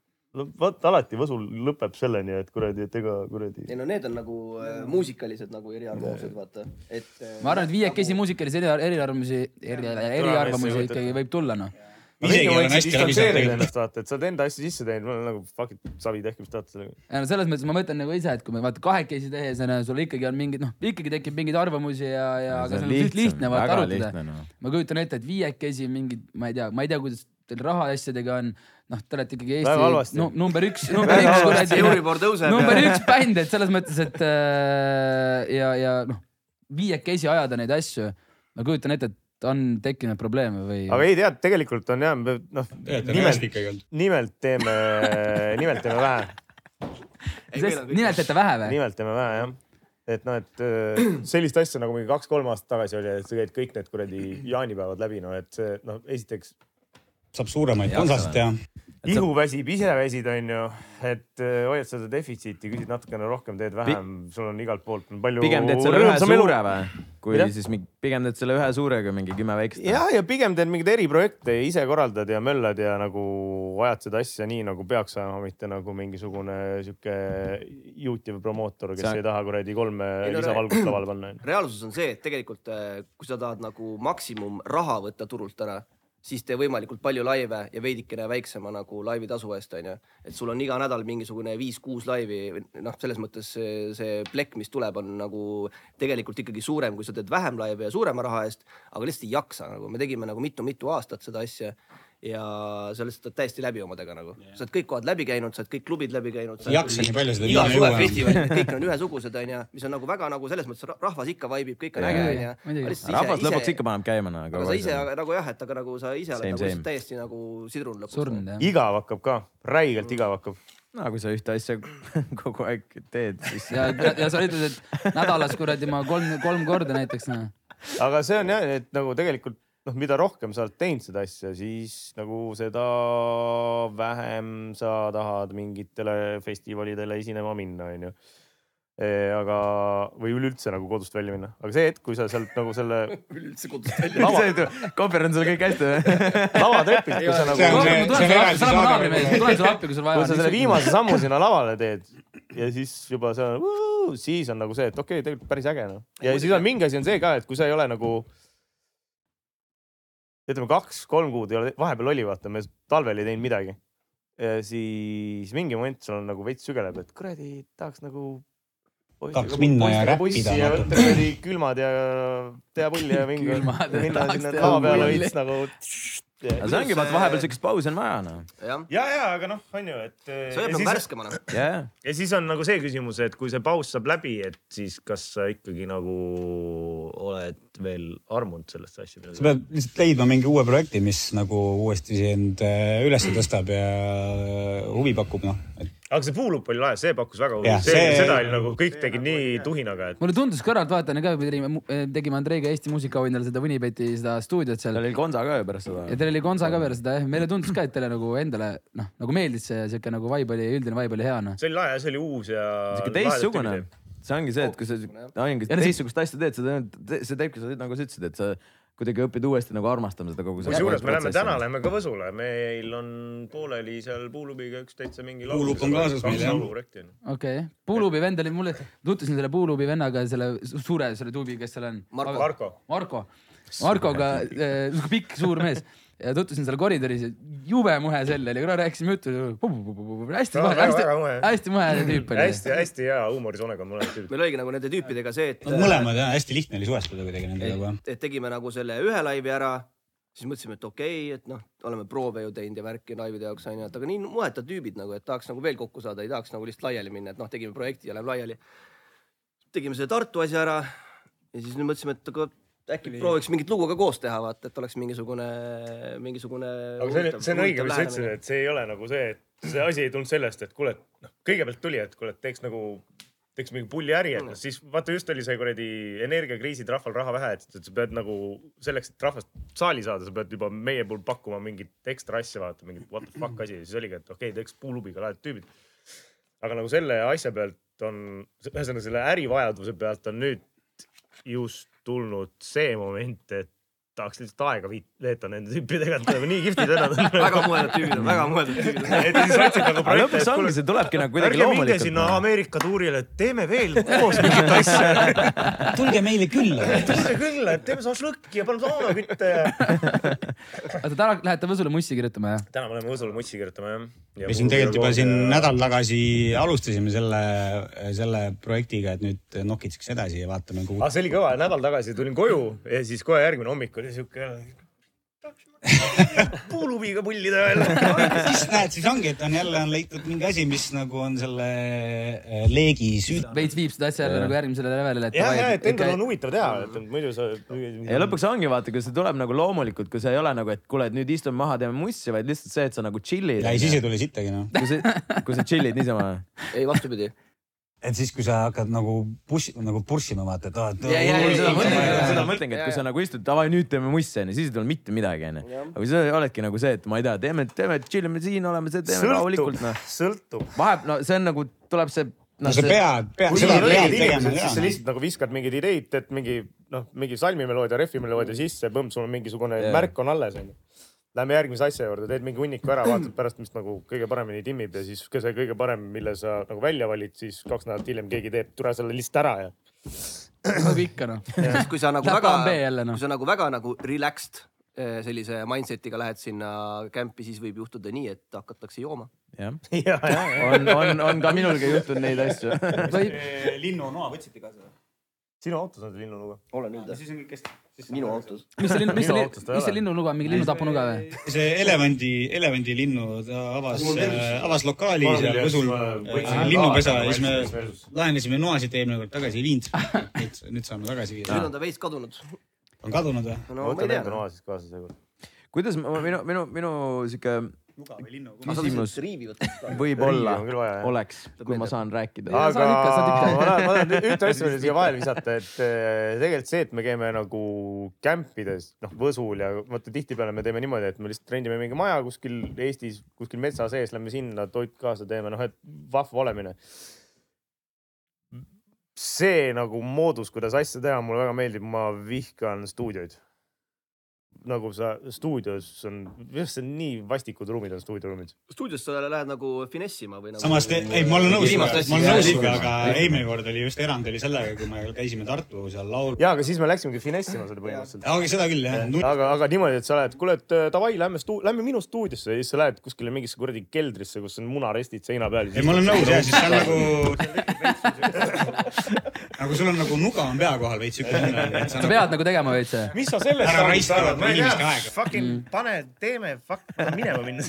J: vot alati Võsul lõpeb selleni , et kuradi , et ega kuradi .
G: ei no need on nagu äh, muusikalised nagu eriarvamused , vaata , et . äh,
A: ma arvan , et viiekesi muusikalisi eri , eriarvamusi , eri , eriarvamusi ikkagi võib tulla , noh .
J: ennast vaata , et sa oled enda asja sisse teinud , ma olen nagu fuck it , savi tehke , mis tahate sellega .
A: ja no selles mõttes ma mõtlen nagu ise , et kui me vaata kahekesi tehes on ju, sul ikkagi on mingid noh , ikkagi tekib mingeid arvamusi ja , ja aga see on lihtsam, lihtne vaata arutada .
C: noh.
A: ma kujutan ette , et viiekesi mingid , ma ei tea , ma ei tea , kuidas teil rahaasjadega on , noh , te olete ikkagi
J: Väga
A: Eesti
J: halvasti.
A: nu, number üks ,
J: Väga
A: number üks
J: halvasti.
A: kuradi ,
J: Euribor tõuseb.
A: number üks bänd , et selles mõttes , et äh, ja , ja noh , viiekesi ajada neid asju , ma kujutan ette , et on tekkinud probleeme või ?
J: aga ei tea , tegelikult on jah , noh ,
A: Tegelikult on hästi
J: nimelt
A: ikkagi olnud. ,
J: nimelt teeme , äh, nimelt teeme vähe .
A: nimelt teete vähe või ?
J: nimelt teeme vähe jah . et noh , et öö, sellist asja nagu mingi kaks-kolm aastat tagasi oli , et sa käid kõik need kuradi jaanipäevad läbi , no et see noh , esiteks .
H: saab suuremaid konsasid teha .
J: ihu väsib , ise väsid , onju , et öö, hoiad seda defitsiiti , küsid natukene rohkem , teed vähem , sul on igalt poolt palju .
C: pigem teed selle ühe suure või ? kui Mida? siis mingi , pigem teed selle ühe suurega mingi kümme väikest .
J: ja , ja pigem teed mingeid eriprojekte ja ise korraldad ja möllad ja nagu ajad seda asja nii nagu peaks ajama , mitte nagu mingisugune sihuke Youtube promootor , kes
G: See on-
J: ei taha kuradi kolme noh,
G: Ei no
J: lisavalgust
G: re-
J: lavale panna .
G: reaalsus on see , et tegelikult äh, kui sa tahad nagu maksimum raha võtta turult ära , siis tee võimalikult palju laive ja veidikene väiksema nagu laivitasu eest onju . et sul on iga nädal mingisugune viis-kuus laivi , noh , selles mõttes see, see plekk , mis tuleb , on nagu tegelikult ikkagi suurem , kui sa teed vähem laive ja suurema raha eest , aga lihtsalt ei jaksa nagu , me tegime nagu mitu-mitu aastat seda asja ja sa lihtsalt oled täiesti läbi omadega nagu yeah. , sa oled kõik kohad läbi käinud , sa oled kõik klubid läbi käinud .
H: Ei jaksa nii palju seda
G: iga
H: viina
G: suve
H: juua.
G: festival , kõik on ühesugused , onju , mis on nagu väga nagu selles mõttes ra- rahvas ikka vaibib , kõik on äge , onju .
C: rahvas lõpuks ikka paneb käima , no
G: aga sa ise . nagu jah , et aga nagu sa ise oled
C: Same,
G: nagu
C: same.
G: täiesti nagu sidrun lõpuks . nagu.
A: surnud jah .
J: igav hakkab ka , räigelt igav hakkab .
C: no kui sa ühte asja kogu aeg teed , siis .
A: ja , ja sa ütled , et nädalas kuradi ma kolm , kolm korda näiteks noh .
J: aga see on jah , et nagu tegelikult noh , mida rohkem sa oled teinud seda asja , siis nagu seda vähem sa tahad mingitele festivalidele esinema minna , onju . aga , või üleüldse nagu kodust välja minna , aga see hetk , kui sa sealt nagu selle
G: üleüldse kodust välja
C: Koper on seal kõik hästi või ?
J: lavatrepid , kui sa nagu . kui sa selle viimase sammu sinna lavale teed ja siis juba see on , siis on nagu see , et okei okay, , tegelikult päris äge noh . ja siis on mingi asi on see ka , et kui sa ei ole nagu ütleme , kaks-kolm kuud ei ole , vahepeal oli , vaata , me talvel ei teinud midagi . siis mingi moment sul on nagu veits sügeleb , et kuradi , tahaks nagu .
H: Tahaks minna ja räppida
J: ja
H: natuke.
J: võtta kuradi külmad ja teha pulli ja mingi
C: Külmad ja
J: minna
C: tahaks
J: sinna
C: teha
J: lava peale
C: pulli.
J: veits nagu .
C: aga see ongi , vaat vahepeal siukest pausi on vaja noh .
G: ja ,
J: ja , aga noh , on ju , et .
G: see hoiab nagu värskemana .
C: jah .
J: ja siis on nagu see küsimus , et kui see paus saab läbi , et siis kas sa ikkagi nagu oled veel armunud sellesse asja
H: sa pead lihtsalt leidma mingi uue projekti , mis nagu uuesti sind äh, üles tõstab ja huvi pakub , noh .
J: aga see puulupp oli lahe , see pakkus väga
H: Jah,
J: huvi , see, see... ,
H: see-
J: seda oli nagu kõik tegid nii tuhinaga , et .
A: mulle tundus kõrvaltvaatajana ka , kui tegime , tegime Andreiga Eesti Muusikaauhinnal seda Winnipeti seda stuudiot seal .
C: teil oli Gonza ka ju pärast seda .
A: ja teil oli Gonza ka veel seda jah , meile tundus ka , et teile nagu endale noh , nagu meeldis see siuke nagu vibe oli , üldine vibe oli hea noh .
J: see oli lahe , see oli uus ja .
C: sihuke teistsugune . see ongi see , et kui sa ainult
A: Ja no siis-
C: teistsugust asja teed , sa teed , see teebki , sa nagu sa ütlesid , et sa kuidagi õpid uuesti nagu armastama seda kogu .
J: kusjuures me läheme täna , läheme ka Võsule , meil on pooleli seal puulubiga üks täitsa mingi .
H: Puulupp on kaasas meil, jah.
A: okei
J: jah .
A: okay. , Puulubi vend oli mulle , tutvusin selle Puulubi vennaga , selle su- suure , selle tuubi , kes seal on .
G: Marko.
J: Marko. .
A: Marko , Markoga , sihuke pikk suur mees ja tutvusin seal koridoris , jube muhe sell oli , rääkisime juttu , hästi
J: No,
A: muhe ,
J: väga-
A: hästi
J: väga muhe. ,
A: hästi muhe tüüp oli .
J: hästi-hästi hea huumorisoonega on mõlemad tüübid .
G: meil oligi nagu nende tüüpidega see , et .
H: mõlemad jah , hästi lihtne oli suhestuda kuidagi nendega juba .
G: et tegime nagu selle ühe laivi ära , siis mõtlesime , et okei okay, , et noh , oleme proove ju teinud ja värki laivide jaoks onju , et aga nii muhetad tüübid nagu , et tahaks nagu veel kokku saada , ei tahaks nagu lihtsalt laiali minna , et noh , tegime projekti ja läheb laiali . tegime selle Tartu asja ära ja siis nüüd mõtlesime , et aga äkki prooviks mingit lugu ka koos teha , vaata , et oleks mingisugune , mingisugune .
J: aga see on , see on õige , mis sa ütlesid , et see ei ole nagu see , et see asi ei tulnud sellest , et kuule , et noh , kõigepealt tuli , et kuule , et teeks nagu , teeks mingi pulli äri , et noh , siis vaata , just oli see kuradi energiakriisid , rahval raha vähe , et et sa pead nagu selleks , et rahvast saali saada , sa pead juba meie puhul pakkuma mingit ekstra asja , vaata mingit what the fuck asi , siis oligi , et okei okay, , teeks puulubiga lahedad tüübid . aga nagu selle asja pealt on , ühesõnaga selle ärivajaduse pealt on nüüd just tulnud see moment , et tahaks lihtsalt aega viit- veeta nende tüüpidega , et nad on nii kihvtid vennad .
G: Väga mõeldud tüübid on, väga mõeldud tüübid on.
J: et siis otsid nagu
G: Aga lõpuks
J: projekte
G: ongi, see tulebki nagu kuidagi
J: ärge minge
G: loomulikult.
J: sinna Ameerika tuurile , et teeme veel koos mingit asja .
H: tulge meile külla .
J: tulge külla , et teeme šašlõkki ja paneme saunakütte ja .
A: oota , täna lähete Võsule mussi kirjutama , jah ?
J: täna me oleme Võsule mussi kirjutama jah .
H: me siin tegelikult juba siin nädal tagasi alustasime selle , selle projektiga , et nüüd nokitseks edasi ja vaatame , kuhu
J: aga Ah, see oli kõva , nädal tagasi tulin koju ja siis kohe järgmine hommik oli siuke . puuluviga pullida veel .
H: siis näed , siis ongi , et on jälle on leitud mingi asi , mis nagu on selle äh, leegi süüt- .
A: veits viib seda asja jälle nagu järgmisele levelile , et
J: ja ,
A: davai,
J: ja , et endal on
A: ikka-
J: huvitav teha , et muidu sa .
C: ja lõpuks ongi vaata , kui see tuleb nagu loomulikult , kui see ei ole nagu , et kuule , et nüüd istume maha , teeme mussi , vaid lihtsalt see , et sa nagu chill'id .
H: ja siis ei tule sittagi noh .
C: kui sa , kui sa chill'id niisama .
G: ei , vastupidi .
H: et siis , kui sa hakkad nagu push , nagu push ima vaata , et aa , et .
C: ja , ja , ja seda mõtlengi , seda mõtlengi , et kui sa nagu istud , davai , nüüd teeme mussi onju , siis ei tule mitte midagi onju . aga kui sa oledki nagu see , et ma ei tea , teeme , teeme , chill ime siin , oleme , teeme rahulikult noh .
J: sõltub .
C: vaheb , no see on nagu , tuleb see .
J: No see pead- pead- seda pead tegema, siis sa lihtsalt nagu viskad mingid ideid , teed mingi noh , mingi salmimeloodia , rehvimeloodia sisse , põmm , sul on mingisugune
C: Jaa.
J: yeah. märk on alles onju . Lähme järgmise asja juurde , teed mingi hunniku ära , vaatad pärast , mis nagu kõige paremini timmib ja siis ka see kõige parem , mille sa nagu välja valid , siis kaks nädalat hiljem keegi teeb , tule selle lihtsalt ära ja .
A: nagu ikka noh .
G: siis kui sa nagu
A: Läheb
G: väga
A: plan B jälle, , noh.
G: kui sa nagu väga nagu relaxed eh, sellise mindset'iga lähed sinna kämpi , siis võib juhtuda nii , et hakatakse jooma .
C: jah
J: ja , ja ,
C: on , on , on ka minulgi juhtunud neid asju .
H: linnunoa võtsite kaasa või ?
J: sinu autos on see linnunuga ?
G: olen üldse .
H: siis on kõik hästi .
G: minu autos .
A: mis see linn , mis see , mis see ? linnunuga , mingi linnutapunuga või ?
H: see elevandi , elevandilinnu , ta avas eh,
A: Mul , tervis-
H: avas lokaali
A: Mul
H: seal
A: tervis-
H: Võsul
A: ma võtsin
H: äh,
A: ka
H: linnupesa
A: aega,
H: ja siis me
A: versus-
H: laenasime noasid eelmine kord tagasi , ei viinud seda. nüüd , nüüd saame tagasi viia
G: nüüd on . ta veits kadunud .
H: on kadunud või ?
G: no ma ei tea . noh.
J: siis kaasa seekord .
C: kuidas ma, minu , minu , minu sihuke küsimus
J: Riivi
C: võib-olla
J: on küll vaja, jah.
C: oleks , kui ma saan rääkida .
J: aga ma tahan , ma tahan ühte asja veel siia vahele visata , et eh, tegelikult see , et me käime nagu kämpides , noh Võsul ja vaata tihtipeale me teeme niimoodi , et me lihtsalt rendime mingi maja kuskil Eestis , kuskil metsa sees , lähme sinna , toit kaasa teeme , noh et vahva olemine . see nagu moodus , kuidas asja teha , mulle väga meeldib , ma vihkan stuudioid nagu sa stuudios on , see on nii vastikud ruumid on stuudioruumid .
G: stuudios sa lähed nagu finessima või nagu .
H: samas te , ei , ma olen nõus , ma
G: Viimast asja
H: olen nõus
G: jääb
H: sinuga , aga
G: liikuma.
H: eelmine kord oli just erand oli sellega , kui me käisime Tartu seal laul- .
J: ja , aga siis me läksimegi finessima seda põhimõtteliselt .
H: aga seda küll jah .
J: aga , aga niimoodi , et sa lähed , kuule , et äh, davai , lähme stu- , lähme minu stuudiosse ja siis sa lähed kuskile mingisse kuradi keldrisse , kus on munarestid seina peal .
H: ei , ma olen nõus jah , siis seal nagu . nagu sul on nagu nuga on pea kohal veits siuke tunne , et sa
A: sa pead nagu tegema veits või ?
J: mis sa sellest
H: Ära raiska vaata nagu inimeste aega.
J: fucking mm. pane , teeme , fuck , minema minna .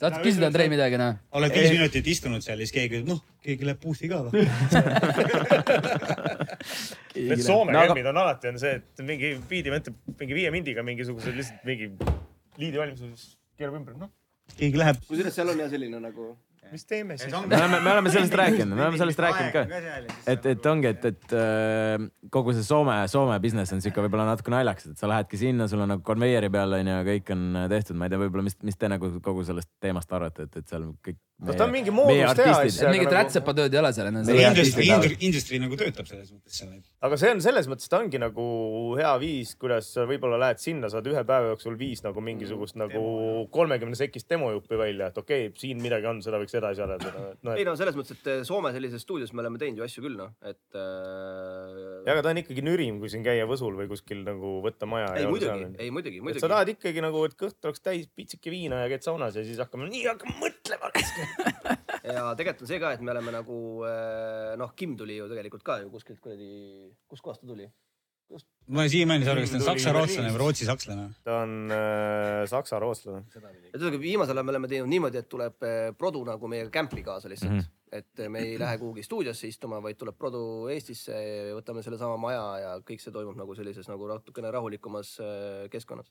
A: tahad küsida , Andrei , midagi noh ?
H: oled viis minutit istunud seal , siis keegi , noh , keegi läheb puusti ka või ?
J: Need Soome kämmid on alati on see , et mingi biidi mõtleb mingi viie mindiga mingisuguse lihtsalt mingi liidi valmis , keerab ümber , noh ,
H: keegi läheb .
G: kusjuures seal on jah selline nagu .
J: mis teeme siis ?
C: me oleme , me oleme sellest rääkinud , me oleme sellest rääkinud ka . et , et ongi , et , et äh, kogu see Soome , Soome business on sihuke võib-olla natuke naljakas , et sa lähedki sinna , sul on nagu konveieri peal on ju , kõik on äh, tehtud , ma ei tea , võib-olla , mis , mis te nagu kogu sellest teemast arvate , et , et seal kõik .
J: No ta on mingi moodus teha asja, aga
A: mingit
J: nagu-
A: rätsepatööd ei ole seal noh. enam .
C: Meie
H: industry , industry nagu töötab selles mõttes seal .
J: aga see on selles mõttes , ta ongi nagu hea viis , kuidas sa võib-olla lähed sinna , saad ühe päeva jooksul viis nagu mingisugust nagu kolmekümne sekist demojuppi välja , et okei okay, , siin midagi on , seda võiks edasi arendada noh, no, .
G: ei no selles mõttes , et eh, Soome sellises stuudios me oleme teinud ju asju küll noh , et äh,
J: ja aga ta on ikkagi nürim , kui siin käia Võsul või kuskil nagu võtta maja .
G: ei muidugi , ei muidugi ,
J: et sa
G: muidugi .
J: tahad ikkagi nagu , et kõht oleks täis pitsike viina ja käid saunas ja siis hakkame , nii hakkame mõtlema .
G: ja tegelikult on see ka , et me oleme nagu eh, noh , Kim tuli ju tegelikult ka ju kuskilt kuradi , kustkohast ta tuli ?
H: ma olen siiamaani ei saa aru , kas ta on saksa-rootslane või rootsi-sakslane .
J: ta on äh, saksa rootslane .
G: ühesõnaga viimasel ajal me oleme teinud niimoodi , et tuleb eh, produ nagu meiega kämpi kaasa lihtsalt mm .
J: Mhm.
G: -hmm. et me ei lähe kuhugi stuudiosse istuma , vaid tuleb produ Eestisse , võtame sellesama maja ja kõik see toimub nagu sellises nagu natukene rahulikumas eh, keskkonnas .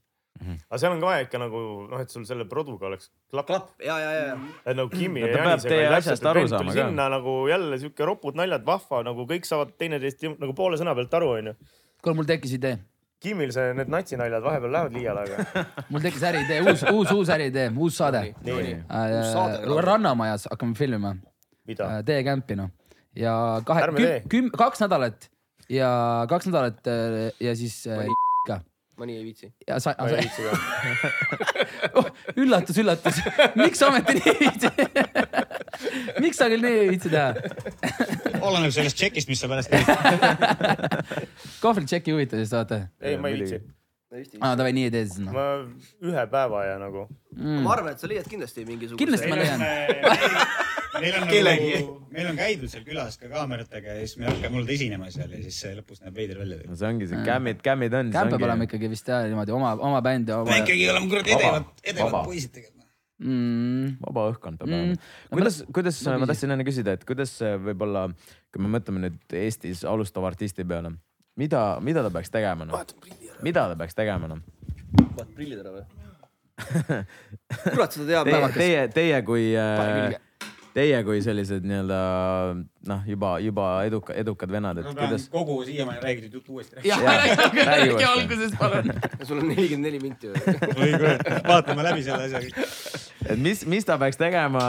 J: aga seal on ka vaja ikka nagu noh , et sul selle produga oleks klapp . klapp ,
G: ja , ja , ja .
J: et nagu Kimi
C: No
J: ja
C: ta peab
J: Janisega
C: teie
J: oli täpselt ,
C: asjast
J: et
C: aru
J: vend tuli
C: saama ka.
J: sinna nagu jälle siuke ropud naljad , vahva , nagu kõik saavad teineteist ju- nagu poole sõna pealt aru , onju .
A: kuule , mul tekkis idee ,
J: Kimil see , need natsinaljad vahepeal lähevad liiale , aga
A: mul tekkis äriidee , uus , uus , uus äriidee , uus saade .
J: nii. nagu.
G: Uus saade.
A: rannamajas hakkame filmima .
J: mida ?
C: Äh,
A: tee kämpi noh ja kahe
J: Ärme , tee.
A: küm- , kaks nädalat ja kaks nädalat äh, ja siis äh, ka
G: mõni ei viitsi .
A: ja sa , sa... . Oh, üllatus , üllatus , miks ometi nii ei viitsi ? miks sa küll nii ei viitsi teha ?
O: oleneb sellest tšekist , mis sa pärast teed .
A: kohvrit tšeki ei huvita siis vaata .
J: ei , ma ei viitsi .
A: aa , davai , nii ei tee siis noh .
J: ma ühe päeva ja nagu
A: Mm.
G: ma arvan , et sa leiad kindlasti mingisuguse .
A: Kindlasti ma leian. .
O: meil on
G: Kellegi.
O: nagu , meil on käidud seal külas ka kaameratega ja siis me hakkame olnud esinema seal ja siis see lõpus näeb veider välja .
C: no see
A: Mm.
C: ongi see kämmid , kämmid on .
A: Camp peab olema ikkagi vist jah niimoodi oma , oma bänd ja oma .
O: me ikkagi oleme kuradi edevad , edevad poisid tegelikult . noh.
A: mm. .
C: vaba õhkkond peab
A: Mm.
C: olema . kuidas , kuidas
A: no
C: no, ,
A: küsi.
C: ma tahtsin enne küsida , et kuidas äh, võib-olla , kui me mõtleme nüüd Eestis alustava artisti peale , mida , mida ta peaks tegema noh ? mida ta peaks tegema noh ?
G: vaat prillid ära või ? kurat , seda
C: Teie ,
G: teab päevakas .
C: teie , teie kui äh,
G: Pane külge. ,
C: teie kui sellised nii-öelda noh , juba , juba eduka , edukad vennad , et
O: ma pean
C: kuidas .
O: kogu siiamaani räägitud juttu uuesti
C: Jah, Jah, räägi- räägi räägi uuesti. algusest,
G: palun . sul on nelikümmend neli minti
O: või ? vaatame läbi selle asja kõik .
C: et mis , mis ta peaks tegema ,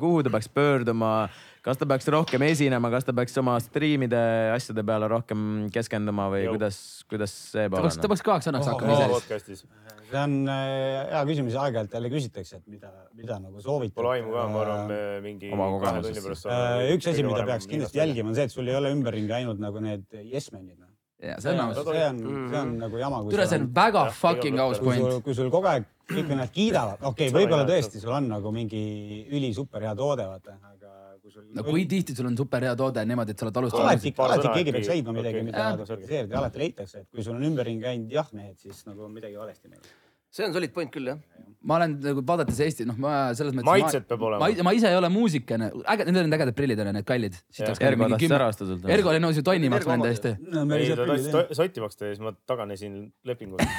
C: kuhu ta peaks pöörduma , kas ta peaks rohkem esinema , kas ta peaks oma striimide asjade peale rohkem keskenduma või Jou. kuidas , kuidas see
A: ta peaks , ta peaks kõvaks sõnaks hakkama
J: Ohohoo.
A: ise .
J: podcast'is .
H: see on äh, hea küsimus , aeg-ajalt jälle küsitakse , et mida , mida nagu soovitada .
J: Pole aimu ka , ma arvan , mingi
C: Oma
J: kahe
C: kogemusest.
J: tunni pärast .
H: Äh, üks asi , mida peaks kindlasti . jälgima , on see , et sul ei ole ümberringi ainult nagu need yes men'id .
O: noh.
A: jaa ,
H: see
A: see on
H: on ,
A: aus .
H: see on nagu jama .
A: türa , see on väga fucking aus
H: kui
A: point
H: sul ,. kui sul kogu aeg kõik nad kiidavad , okei okay, , võib-olla tõesti , sul on nagu mingi ülisuper hea toode , vaata , aga kui sul .
A: no kui tihti sul on superhea toode niimoodi , et sa oled
H: alati
A: alustanud ,?
H: alati
J: sõna
H: keegi
J: äkki-
H: peaks leidma midagi ,
J: okei.
H: mida kritiseerida , alati leitakse , et kui sul on ümberringi ainult jah-mehed , siis nagu on midagi valesti läinud .
G: see on solid point küll jah .
A: ma olen nagu vaadates Eesti , noh , ma selles mõttes .
J: maitset peab olema .
A: ma , ma ise ei ole muusikane , äge , need on ägedad prillid on ju , need kallid .
C: Ergo tahtis ära osta sult .
A: Ergo oli nõus ju tonni maksma enda eest .
H: no me
J: ei , ta
H: lihtsalt .
J: tahtis sotti maksta ja siis ma taganesin lepingust .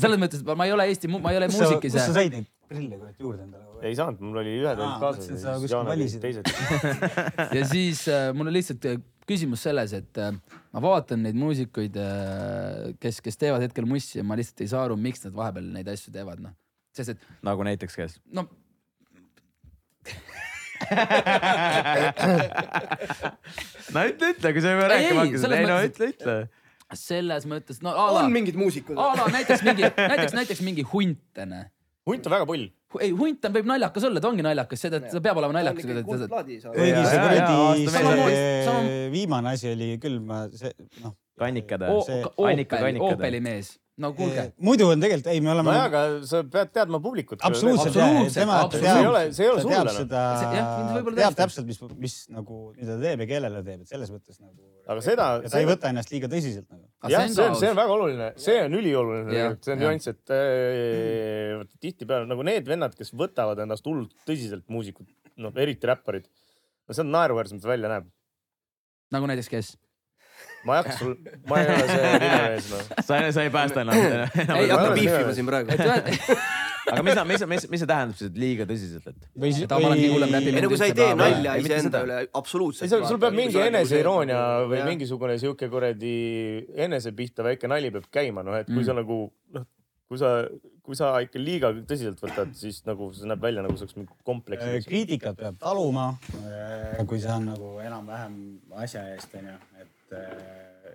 A: selles mõttes , et ma- ma ei ole Eesti , ma ei ole
H: kus sa ,
A: muusik
H: kus sa
A: ise .
H: said neid prille kurat juurde endale või ?
J: ei saanud , mul oli ühed
H: Aa,
J: olid kaasas
H: mõtlesin,
J: ja
H: sa
J: siis
H: kuskil
J: Jaan oli
H: valisid.
J: teised .
A: ja siis äh, mul on lihtsalt äh, küsimus selles , et äh, ma vaatan neid muusikuid , kes , kes teevad hetkel mussi ja ma lihtsalt ei saa aru , miks nad vahepeal neid asju teevad , noh . sest et
C: nagu näiteks kes ?
A: no
C: no ütle , ütle , kui sa juba
A: Ei,
C: rääkima
A: ei,
C: hakkasid .
A: selles
C: ei no
A: mõttes-
C: ütle , ütle .
A: selles mõttes , no a la
G: on , mingid muusikud
A: a ? la näiteks mingi , näiteks , näiteks mingi hunt onju .
J: hunt on väga pull .
A: ei , hunt on , võib naljakas olla , ta ongi naljakas , seda , ta peab olema naljakas .
G: kuldplaadi saab .
H: kuigi see
C: jaa, jaa,
H: kuradi ,
C: aasta
A: meelde.
H: see
A: Samamoodi-
H: viimane asi oli küll , ma see , noh .
C: kannikad või ?
H: see-
C: Annika
A: Opeli ,
C: Kannikad. äh,
A: Opeli mees , no kuulge .
H: muidu on tegelikult , ei , me oleme nagu-
J: nojah , aga sa pead teadma publikut .
H: absoluutselt
A: Absoluutselt,
H: jah , tema ta
A: absoluutselt.
H: teab ,
A: See ei
J: ole- see ei ole
H: ta
J: sulle
H: teab
J: enam.
H: seda
A: See- jah, võib-olla ,
H: teab
A: tõesti.
H: täpselt , mis , mis nagu , mida ta teeb ja kellele ta teeb , et selles mõttes nagu .
J: Aga seda-
H: ta ei võta ennast liiga tõsiselt nagu .
J: jah , see on , see on väga oluline , see on
A: Jah,
J: ülioluline tegelikult , see on
A: jah.
J: nüanss , et äh, vaata tihtipeale nagu need vennad , kes võtavad ennast hullult tõsiselt muusikud , noh eriti räpparid . no see on naeruväärselt välja näeb .
A: nagu näiteks kes ?
J: ma ei hakka sul , ma ei ole see nimemees noh .
C: sa , sa ei päästa enam .
G: ei hakka
J: ole
G: piifima
J: nime.
G: siin praegu .
A: et ühe-
C: aga mis , mis , mis , mis see tähendab siis , et liiga tõsiselt , et ?
H: või siis
A: ta on alati hullem
G: ei
A: läbi
G: no kui sa ei tee nalja
C: ei, mitte
G: iseenda
C: seda.
G: üle
J: ei ,
G: absoluutselt .
J: sul , sul peab mingi nagu, eneseiroonia
G: nagu-
J: või . mingisugune sihuke kuradi enese pihta väike nali peab käima , noh et kui sa nagu noh , kui sa , kui sa ikka liiga tõsiselt võtad , siis nagu see näeb välja nagu see oleks mingi kompleks .
H: äh, kriitikat peab taluma , kui see on nagu enam-vähem asja eest , onju , et äh,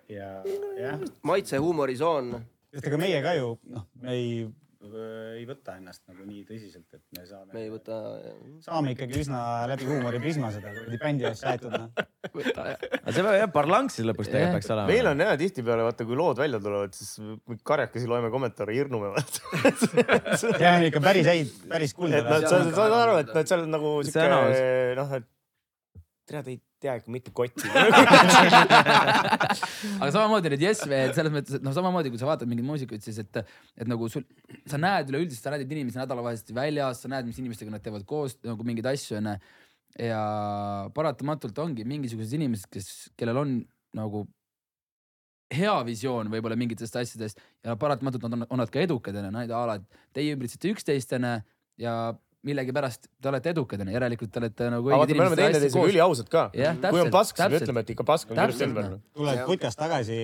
H: ja jah ,
G: maitse , huumorisoon .
H: sest ega meie ka ju , noh , me ei , ei võta ennast nagu nii tõsiselt , et me saame .
G: me ei võta .
H: saame ikkagi üsna läbi huumoriprisma seda kuradi bändi asja aetud . noh.
C: aga see peab jah parlanksis lõpuks
A: Jah.
C: tegelikult peaks olema .
J: meil on jah tihtipeale vaata , kui lood välja tulevad , siis me karjakesi loeme kommentaare , hirnume vaata .
H: see on ikka päris häid , päris
J: et
H: kuldne
J: nad , sa sa saad aru , et nad seal on nagu
C: See
J: sihuke
C: on aus.
J: noh , et tead , ei tea ikka mitte kotti .
A: aga samamoodi need Yes mehed selles mõttes , et noh , samamoodi kui sa vaatad mingeid muusikuid , siis et , et nagu sul , sa näed üleüldiselt , sa näed neid inimesi nädalavahetuseti väljas , sa näed , mis inimestega nad teevad koos nagu mingeid asju onju . ja paratamatult ongi mingisugused inimesed , kes , kellel on nagu hea visioon võib-olla mingitest asjadest ja paratamatult nad on , on nad ka edukad onju , nad alad , teie ümbritsete üksteist onju ja millegipärast te olete edukad , onju , järelikult te olete nagu .
J: aga vaata , me oleme teineteisega üliausad ka .
A: jah ,
J: kui on pask , siis me
A: täpselt .
J: ütleme , et ikka pask on
A: Täpselt,
J: kirjutatud ümber .
H: tuled putkast tagasi ,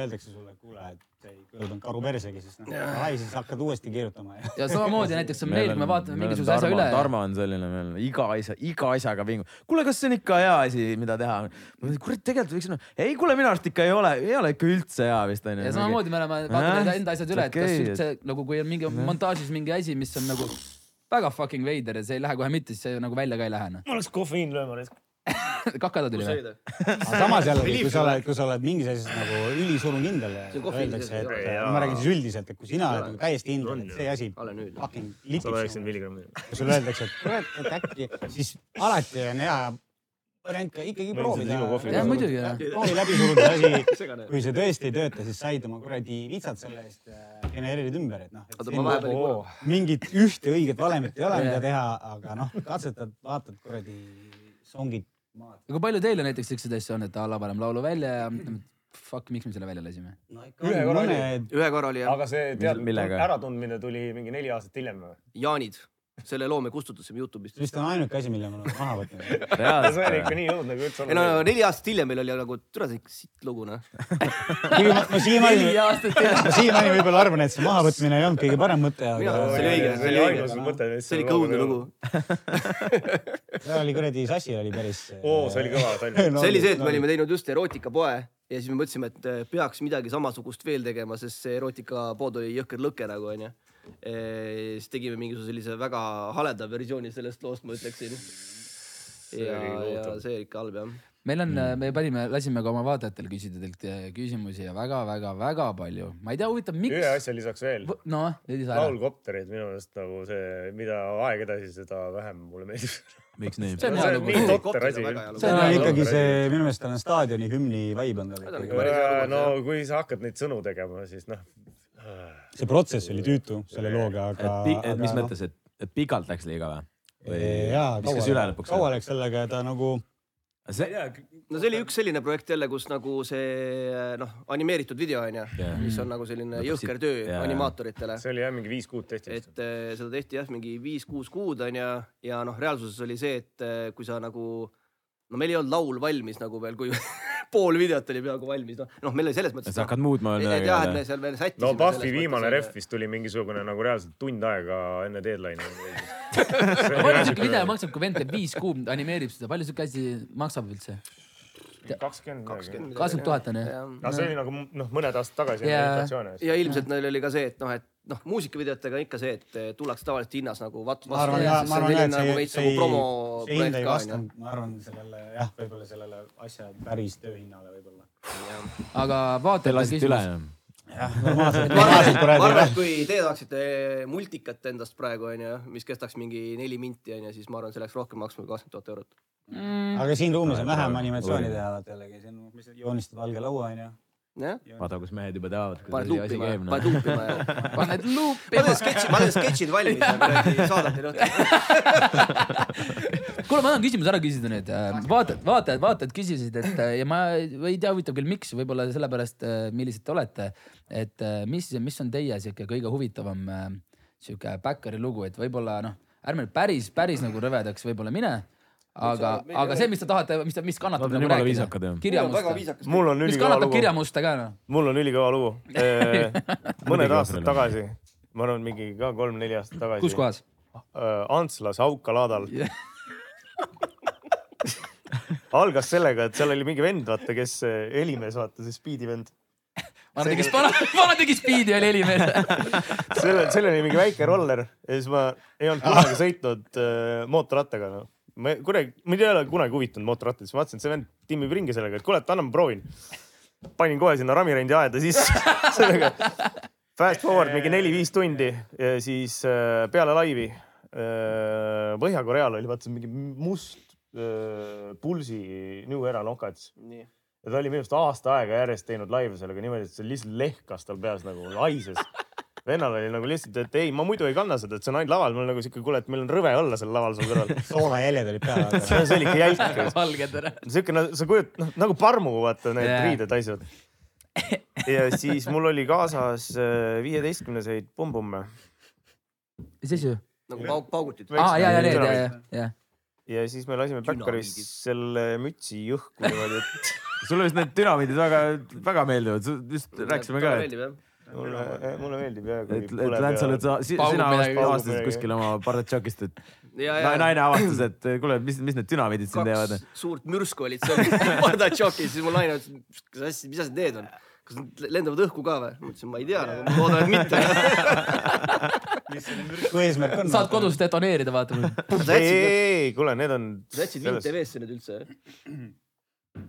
H: öeldakse sulle , kuule , et ei kõlbanud karu persegi , siis noh , ai , siis hakkad uuesti kirjutama .
A: ja samamoodi näiteks on meil , kui me vaatame mingisuguse
C: Tarmo,
A: asja üle .
C: Tarmo on selline meil , iga asja , iga asjaga vingub . kuule , kas see on ikka hea asi , mida teha ? kurat , tegelikult võiks noh , ei kuule , minu arust ikka ei ole , ei ole ikka üldse hea vist onju .
A: ja samamoodi me oleme , vaatame enda- enda asjad üle , et kas üldse nagu , kui on mingi
C: Jah.
A: montaažis mingi asi , mis on nagu väga fucking veider ja see ei lähe kohe mitte , siis see nagu välja ka ei lähe , noh .
P: mul läks kofeiin lööma nüüd .
A: kakada tuli või ?
H: aga samas jällegi , kui sa oled , kui sa oled mingis asjas nagu ülisurukindel ja
G: See kohvi-
H: öeldakse , et äh,
G: Jaa.
H: ma räägin siis üldiselt , et kui sina oled nagu täiesti hindel , et see asi fucking nagu
J: üheksakümmend
H: likib .
J: milligrammi .
H: kui sulle öeldakse , et kurat , et äkki , siis alati on hea variant ka ikkagi
J: Meil
H: proovida .
J: siin sinu kohvi
A: Jah, muidugi, jah.
H: proovi läbi suruda asi
G: Segane. ,
H: kui see tõesti ei tööta , siis said oma kuradi vitsad selle eest ja genereerid ümber , et noh .
G: Oota, ma vahepeal ei kuule.
H: mingit ühte õiget valemit ei ole , mida teha , aga noh , katsetad , vaatad kuradi songid .
A: ja kui palju teil on näiteks siukseid asju on , et a la paneme laulu välja ja fuck , miks me selle välja lasime ?
J: ühe korra oli ,
G: ühe korra oli jah ,
J: aga see tead
A: millega? ,
J: äratundmine tuli mingi neli aastat hiljem või ?
G: Ah. Jaanid , selle loo me kustutasime Youtube'ist .
H: vist on ainuke asi , mille me oleme maha võtnud .
J: see oli ikka nii õudne , kui üldse
G: ei no neli aastat hiljem meil oli nagu , türa see sitt lugu noh .
H: kuigi ma, ma siiamaani ,
A: neli aastat hiljem .
H: ma siiamaani võib-olla arvan , et see mahavõtmine ei olnud kõige parem mõte ,
G: Mina arvan, see
H: aga
G: oli õige , see oli õige . see oli ikka õudne lugu .
H: see oli kuradi sassi oli päris .
J: oo , see oli kõva , see oli .
G: see oli see , et me olime teinud just erootikapoe ja siis me mõtlesime , et eh, peaks midagi samasugust veel tegema , sest see erootikapood oli jõhker lõke nagu onju . siis tegime mingisuguse sellise väga haleda versiooni sellest loost , ma ütleksin . ja , ja see ikka halb jah .
A: meil on , me panime , lasime ka oma vaatajatel küsida teilt eh, küsimusi ja väga-väga-väga palju , ma ei tea , huvitav , miks
J: ühe ? asja lisaks veel .
A: noh , veidi sa ära .
J: laulkopterid minu meelest nagu see , mida aeg edasi , seda vähem mulle meeldib .
C: miks nii ?
A: see on hea lugu .
J: mingi totter asi .
H: see on ikkagi see , minu meelest tal on staadioni hümni vibe on tal ikkagi .
J: no kui sa hakkad neid sõnu tegema , siis noh .
H: see protsess oli tüütu selle looga , aga .
C: et mis mõttes , et , et pikalt läks liiga või ?
H: jaa ,
C: viskas üle lõpuks ?
H: kaua läks sellega ja ta nagu ,
C: see ,
G: no see oli üks selline projekt jälle , kus nagu see noh , animeeritud video onju
C: Jah.
G: yeah. , mis on nagu selline
C: No
G: jõhker
C: siit-
G: töö
C: jah.
G: yeah. animaatoritele .
J: see oli jah , mingi viis kuud tehti .
G: et eh, seda tehti jah , mingi viis-kuus kuud onju ja, ja noh , reaalsuses oli see , et eh, kui sa nagu no meil ei olnud laul valmis nagu veel , kui pool videot oli peaaegu valmis , noh , noh , meil oli selles mõttes .
C: sa hakkad muutma veel
G: et
C: midagi
G: jah , et me seal veel sättisime .
J: no Pahvi viimane ref vist tuli mingisugune nagu reaalselt tund aega enne deadline'i .
A: palju siuke video maksab , kui vend teeb viis kuud , animeerib seda , palju siuke asi maksab üldse ?
J: kakskümmend midagi .
A: kakskümmend tuhat on ju ?
J: aga see oli nagu noh , mõned aastad tagasi
A: Jaa.
J: enne inflatsiooni .
G: ja ilmselt neil oli ka see , et noh , et noh , muusikavideotega on ikka see , et eh, tullakse tavaliselt hinnas nagu vat- .
H: ma arvan jah , ma arvan jah , et see ,
G: nagu
H: see ei , see hind
G: promoprojekt
H: ei
G: ka onju .
H: vastanud , ma arvan sellele jah , võib-olla sellele asja päris tööhinnale võib-olla .
A: aga vaatajate
C: lasite üle
A: küsimus .
H: normaalselt ,
G: ma
H: normaalselt
G: arvan , et
H: kuradi .
G: kui teie tahaksite multikat endast praegu onju , mis kestaks mingi neli minti onju , siis ma arvan , see läks rohkem maksma kui kakskümmend tuhat eurot .
A: Mm,
H: aga siin ruumis on vähem animatsiooni teha jällegi , siin on- mis- joonistad valge laua onju .
G: jah ,
C: vaata , kus mehed juba teavad ,
G: paned
C: kuidas see asi
G: luupima
C: käib ,
G: paned
C: noh .
G: luupima ja
A: paned luupi
G: ma . teen sketši , ma teen sketšid valmis ja kuradi saadan teile õhtul .
A: kuule , ma tahan küsimuse ära küsida nüüd . vaatajad , vaatajad , vaatajad küsisid , et äh, ja ma ei tea , huvitav küll , miks , võib-olla sellepärast , millised te olete . et äh, mis , mis on teie sihuke kõige huvitavam äh, sihuke backeri lugu , et võib-olla noh , ärme nüüd päris , päris nagu rõvedaks võib-olla mine . aga , aga see , mis te tahate , mis , mis kannatab
C: Nad on
A: nagu
C: jumala
A: rääkida
C: viisakad, jah. .
G: väga
A: kirjamuste ,
G: viisakas .
J: mul on
A: mis
J: ülikõva
A: kannatab
J: lugu ,
A: kirjamuste ka noh .
J: mul on ülikõva lugu . mõned aastad
C: Muidugi Aafrika.
J: tagasi , ma arvan , mingi ka kolm-neli aastat tagasi . Äh,
A: kus ? kohas ?
J: Antslas Auka-laadal algas sellega , et seal oli mingi vend , vaata , kes äh, helimees , vaata see Speedi vend .
A: vana tegi , vana tegi spiidi oli helimees .
J: sellel , sellel oli mingi väike roller ja siis ma ei olnud kunagi sõitnud äh, mootorrattaga no. . ma kunagi , mind ei ole kunagi huvitanud mootorrattad , siis ma vaatasin , et see vend timmib ringi sellega , et kuule , et anna ma proovin . panin kohe sinna Ramirendi aeda sisse sellega . Fast forward mingi neli-viis tundi ja siis äh, peale laivi äh, Põhja-Koreal oli vaata see mingi must äh, pulsi New Era nokats ja ta oli minu arust aasta aega järjest teinud laive sellega niimoodi , et see lihtsalt lehkas tal peas nagu laises . vennal oli nagu lihtsalt , et ei , ma muidu ei kanna seda , et see on ainult laval , mul nagu siuke , kuule , et meil on rõve olla seal laval seal kõrval .
H: soolajäljed olid peal .
J: see oli ikka jälk .
A: valged ära .
J: siuke , sa kujutad , noh nagu parmu , vaata need
A: Jaa.
J: yeah. riided haisavad . ja äh, siis mul oli kaasas viieteistkümneseid Pumbumme .
A: mis asju ?
G: nagu pauk , paugutid .
A: Aa, jaa, jaa, need, jaa, jaa, jaa. .
J: ja siis me lasime Backeris selle mütsi õhku niimoodi , et .
C: sulle vist need dünamiidid väga , väga meeldivad , just rääkisime ka , et ,
J: mulle , mulle meeldib jah .
C: et , et Länts oled sa , sina avast- avastasid kuskil oma Bardatšokist , et
G: Ja,
C: na-
G: ja.
C: naine avastas , et kuule , mis , mis need dünamiidid siin teevad .
G: suurt mürsku olid seal Bardatšokis , siis mu naine ütles , mis asja , mis asjad need on , kas nad le- lendavad õhku ka või ? ma ütlesin , ma ei tea , ma loodan , et mitte .
H: kui eesmärk on .
A: saad kodus detoneerida , vaata .
G: Ei, ei,
J: ei , kuule , need on .
G: sa jätsid mind TV-sse nüüd üldse ?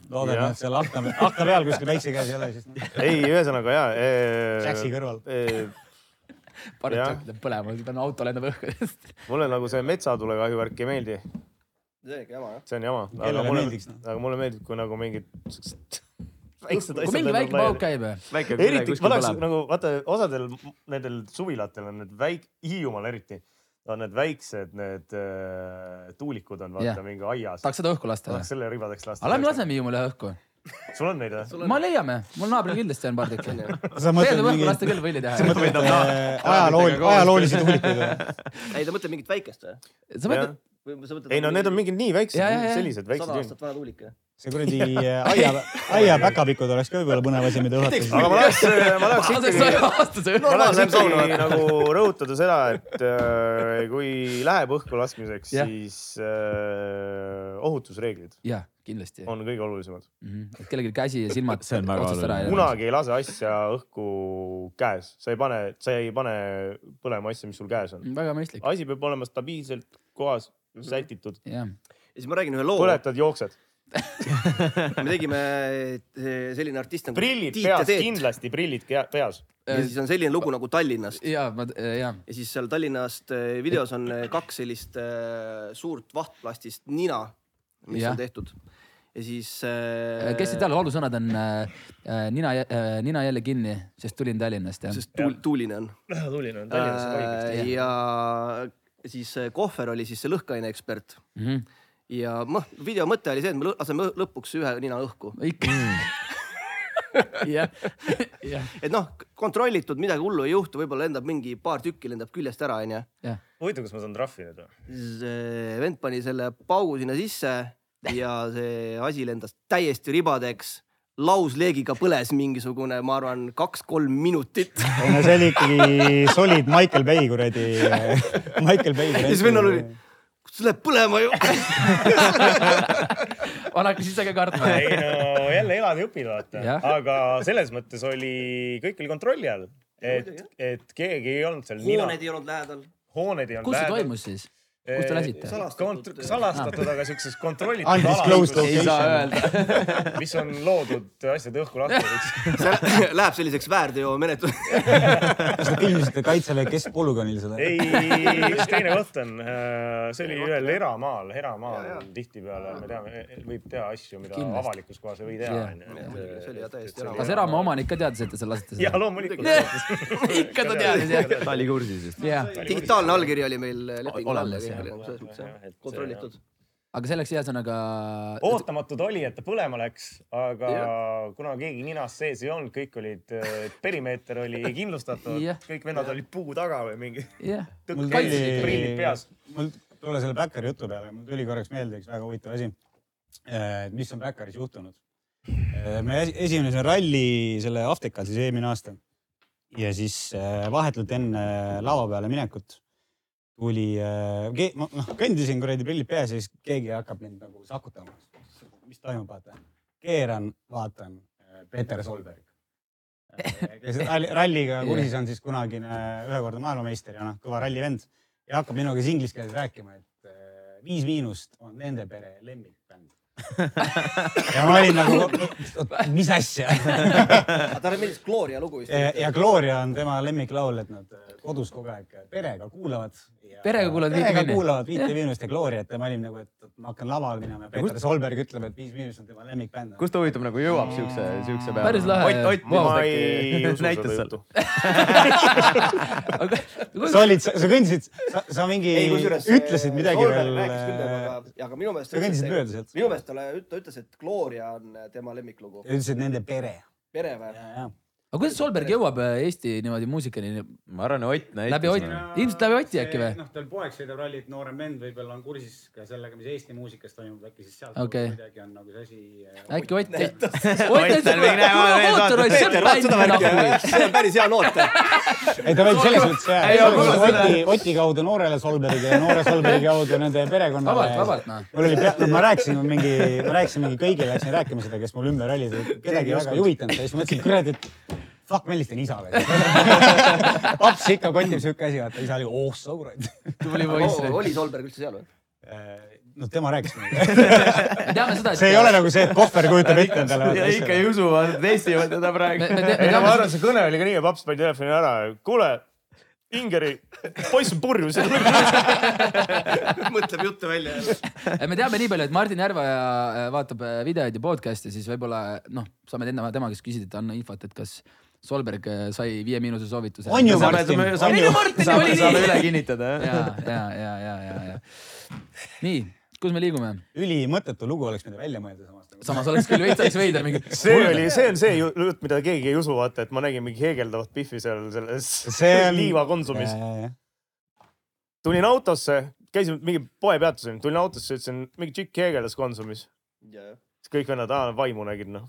H: loodame , et seal akna , akna peal kuskil väikse käes ei ole , siis .
J: ei , ühesõnaga ja .
H: Jaksi kõrval. .
A: Bardatšok läheb põlema , pean auto lendab õhku .
J: mulle nagu see metsatulekahju värk ei meeldi .
G: see on jama jah .
J: see on jama .
H: Kellele
J: aga mulle
H: meeldiks, ,
J: aga mulle meeldib , kui nagu mingid siuksed väiksed
A: Kui
J: asjad .
A: mingi väike pauk käib, või? Väike
J: või ?
A: midagi
J: eriti ,
A: kuskil
J: ma tahaks
A: põleb.
J: nagu vaata , osadel m- nendel suvilatel on need väik- , Hiiumaal eriti , on need väiksed , need äh, tuulikud on vaata
A: Jah.
J: yeah. mingi aias .
A: Tahaks seda õhku lasta, või?
J: tahaks selle ribadeks lasta .
A: aga lähme laseme Hiiumaale õhku .
J: sul on neid või ?
A: ma leiame , mul naabril kindlasti on paar tükki .
H: Sa mõtled
A: tegelikult
H: mingi-
A: õhku lasta küll võlli teha .
H: Sa mõtled, äh, ajalool- ajaloolisi tuulikuid või?
G: ei , ta mõtleb mingit väikest või ?
A: Sa mõtled-
G: või sa mõtled ?
J: ei no need on mingid nii väiksed ,
G: Jaa, jaa, jaa.
J: sellised väiksed
G: sada . aastat vana tuulik jah ?
H: see kuradi äh, aia , aia päkapikud oleks ka võib-olla põnev asi , mida õhutada .
J: aga ma tahaks , ma
A: Ah,
J: tahaks
A: ikkagi ,
J: ma tahaks ikkagi nagu rõhutada seda , et äh, kui läheb õhku laskmiseks ,
A: Jah.
J: siis äh, ohutusreeglid
A: jah , kindlasti .
J: on kõige olulisemad .
A: et kellelgi käsi ja silmad otsast ära ei lähe .
J: kunagi ei lase asja õhku käes , sa ei pane , sa ei pane põlema asja , mis sul käes on .
A: Mm, väga mõistlik .
J: asi peab olema stabiilselt kohas sätitud .
A: ja
G: siis ma räägin ühe loo .
J: põletad , jooksed .
G: me tegime , selline artist nagu .
J: prillid peas ,. kindlasti prillid kea- peas .
G: ja siis on selline lugu nagu Tallinnast .
A: ja , ma , eh, ja .
G: ja siis seal Tallinnast eh, videos on eh, kaks sellist eh, suurt vahtplastist nina , mis
A: Jah. Eh,
G: on tehtud . ja siis . eh,
A: kes ei tea , laulusõnad on äh, äh, nina , nina jälle kinni , sest tulin Tallinnast ja .
G: sest tuul , tuuline on .
J: tuuline on
G: Tallinnas . ja siis eh, Kohver oli siis see lõhkaine ekspert
A: Mhm.
G: ja noh , video mõte oli see , et me lõ- laseme õh- lõpuks ühe nina õhku .
A: jah ,
G: jah . et noh , kontrollitud , midagi hullu ei juhtu , võib-olla lendab mingi paar tükki lendab küljest ära , onju .
J: huvitav , kas ma saan trahvi nüüd või ?
G: see vend pani selle paugu sinna sisse ja see asi lendas täiesti ribadeks . lausleegiga põles mingisugune , ma arvan , kaks-kolm minutit .
H: ei no see oli ikkagi solid Michael Bay kuradi , Michael Bay
G: ja siis vennal
H: kuradi .
G: oli , see läheb põlema ju .
A: vana hakkas ise ka kartma .
J: ei no jälle elad ja õpid , vaata
A: Jah. .
J: aga selles mõttes oli , kõik oli kontrolli all , et , et keegi ei olnud seal .
G: hooned ei olnud lähedal .
J: hooned ei olnud .
A: kus see toimus siis ? kus te lasite ?
J: salastatud , salastatud , aga siukses kontrollitud
A: Undisclosed
J: alas, kus-
A: location. Ei saa
J: mis on loodud asjade õhku lahtimiseks .
G: see läheb selliseks väärteomenetluseks .
H: kas nad filmisite Kaitseväe keskpolügoonil seda ?
J: ei , üks teine koht on , see oli ühel eramaal , eramaal tihtipeale me teame , võib teha asju , mida
A: Kindlasti.
J: avalikus kohas ei või teha
A: Jah. .
J: see oli täiesti
A: kas eramaa omanik ka teadis , et te seal lasite ?
J: ja loomulikult .
A: ikka ta teadis jah .
C: ta oli kursis vist .
G: digitaalne allkiri oli meil lepingu all ja
A: olemas,
G: kõik
A: jah.
G: oli nagu selles mõttes jah , kontrollitud .
A: aga selleks ühesõnaga .
J: ootamatud oli , et ta põlema läks , aga kuna keegi ninas sees ei olnud , kõik olid , perimeeter oli kindlustatud
A: Jah. ,
J: kõik vennad olid puu taga või mingi .
A: jah .
H: mul
J: tõkkasid prillid peas .
H: mul tule selle Backeri jutu peale , mul tuli korraks meelde üks väga huvitav asi . mis on Backeris juhtunud ? me esi- esimene see ralli selle Aafrikal siis eelmine aasta ja siis eh, vahetult enne lava peale minekut tuli , ma noh kõndisin kuradi prillid peas ja siis keegi hakkab mind nagu sakutama . mis toimub , vaata . keeran , vaatan , Peeter Solberg . kes Äh, ralli- ralliga kursis on siis kunagine ühekordne maailmameister ja noh , kõva rallivend ja hakkab minuga siis inglise keeles rääkima , et eh, Viis Miinust on nende pere lemmikbänd . ja ma olin nagu , mis asja .
G: aga talle meeldis Gloria lugu vist .
H: ja ja Gloria on tema lemmiklaul , et nad eh, kodus kogu aeg perega kuulavad .
A: perega kuulad viite
H: perega
A: minna .
H: kuulavad Viite Miinust ja Gloriat ja ma olin nagu , et ma hakkan lavale minema ja Peeter Solberg ütleb , et Viis Miinust on tema lemmikbänd .
C: kust ta huvitav nagu jõuab siukse , siukse peale ?
A: Päris lahe.
C: Ott , Ott
A: Ma
H: ei usu
C: vist äkki
H: seda
C: näitas seal .
H: sa olid , sa sa kõndisid , sa , sa mingi
G: Ei, kusjuures see
H: ütlesid midagi
G: Solberg
H: veel .
G: rääkis küll temaga , aga minu meelest .
H: sa kõndisid mööda sealt .
G: minu meelest talle , ta ütles , et Gloria on tema äh, lemmiklugu .
H: ja ütlesid nende pere .
G: pere või ?
A: aga kuidas Solberg jõuab äh, Eesti niimoodi muusikani ?
C: ma arvan , Ott näitas .
A: läbi Ott , ilmselt läbi Oti äkki või ?
H: noh , tal poeg sõidab rallit , noorem vend võib-olla on kursis ka sellega , mis Eesti muusikas toimub , äkki siis sealt
A: Okei.
H: kuidagi on nagu see asi .
A: äkki Ott näitas .
H: see
Q: on päris hea noot .
H: ei ta võiks selles mõttes
Q: Ei,
H: jah
Q: aga , selle-
H: Oti , Oti kaudu noorele Solbergile ja noore Solbergi kaudu nende perekonnale .
A: Vabalt, vabalt, noh.
H: mul oli , no ma rääkisin mingi , ma rääkisin mingi kõigile , läksin rääkima seda , kes mul ümber olid , kedagi väga ei huvitanud ja siis mõtlesin , kurat , et fuck , Meelis on isa veel . laps ikka konnib siuke asi , vaata isa oli , oh sa kurat .
G: Oh, oli Solberg üldse seal või ?
H: no tema rääkis mulle .
A: teame seda , et
H: see ei ole nagu see , et kohver kujutab ette endale .
J: ja ikka ei usu , vaata teist ei võta ta praegu .
A: Me- me te- me
J: ei no
A: teame
J: ma
A: seda-
J: arvan , see kõne oli ka nii , paps pani telefoni ära . kuule , Ingeri , poiss on purjus .
G: mõtleb juttu välja .
A: Eh, me teame nii palju , et Martin Järveoja äh, vaatab äh, videoid ja podcast'e , siis võib-olla noh , saame enda , tema käest küsida , et anna infot , et kas Solberg äh, sai Viie Miinuse soovituse .
H: On ju, Saame- Martin? saame- saame-
A: on ju Martin ,
H: saame-
A: oli
H: saame üle
A: nii .
C: kinnitada ,
A: ja , ja , ja , ja , ja , ja . nii , kus me liigume ?
H: ülimõttetu lugu oleks midagi välja mõelda samas .
A: samas oleks küll veits , oleks veider mingi .
J: see oli , see on see ju- jutt , mida keegi ei usu , vaata , et ma nägin mingi heegeldavat pihvi seal selles
H: See on-
J: liivakonsumis . tulin autosse , käisin mingi poepeatusel , tulin autosse , ütlesin , mingi tšikk heegeldas Konsumis . siis kõik vennad , aa , vaimu nägid noh .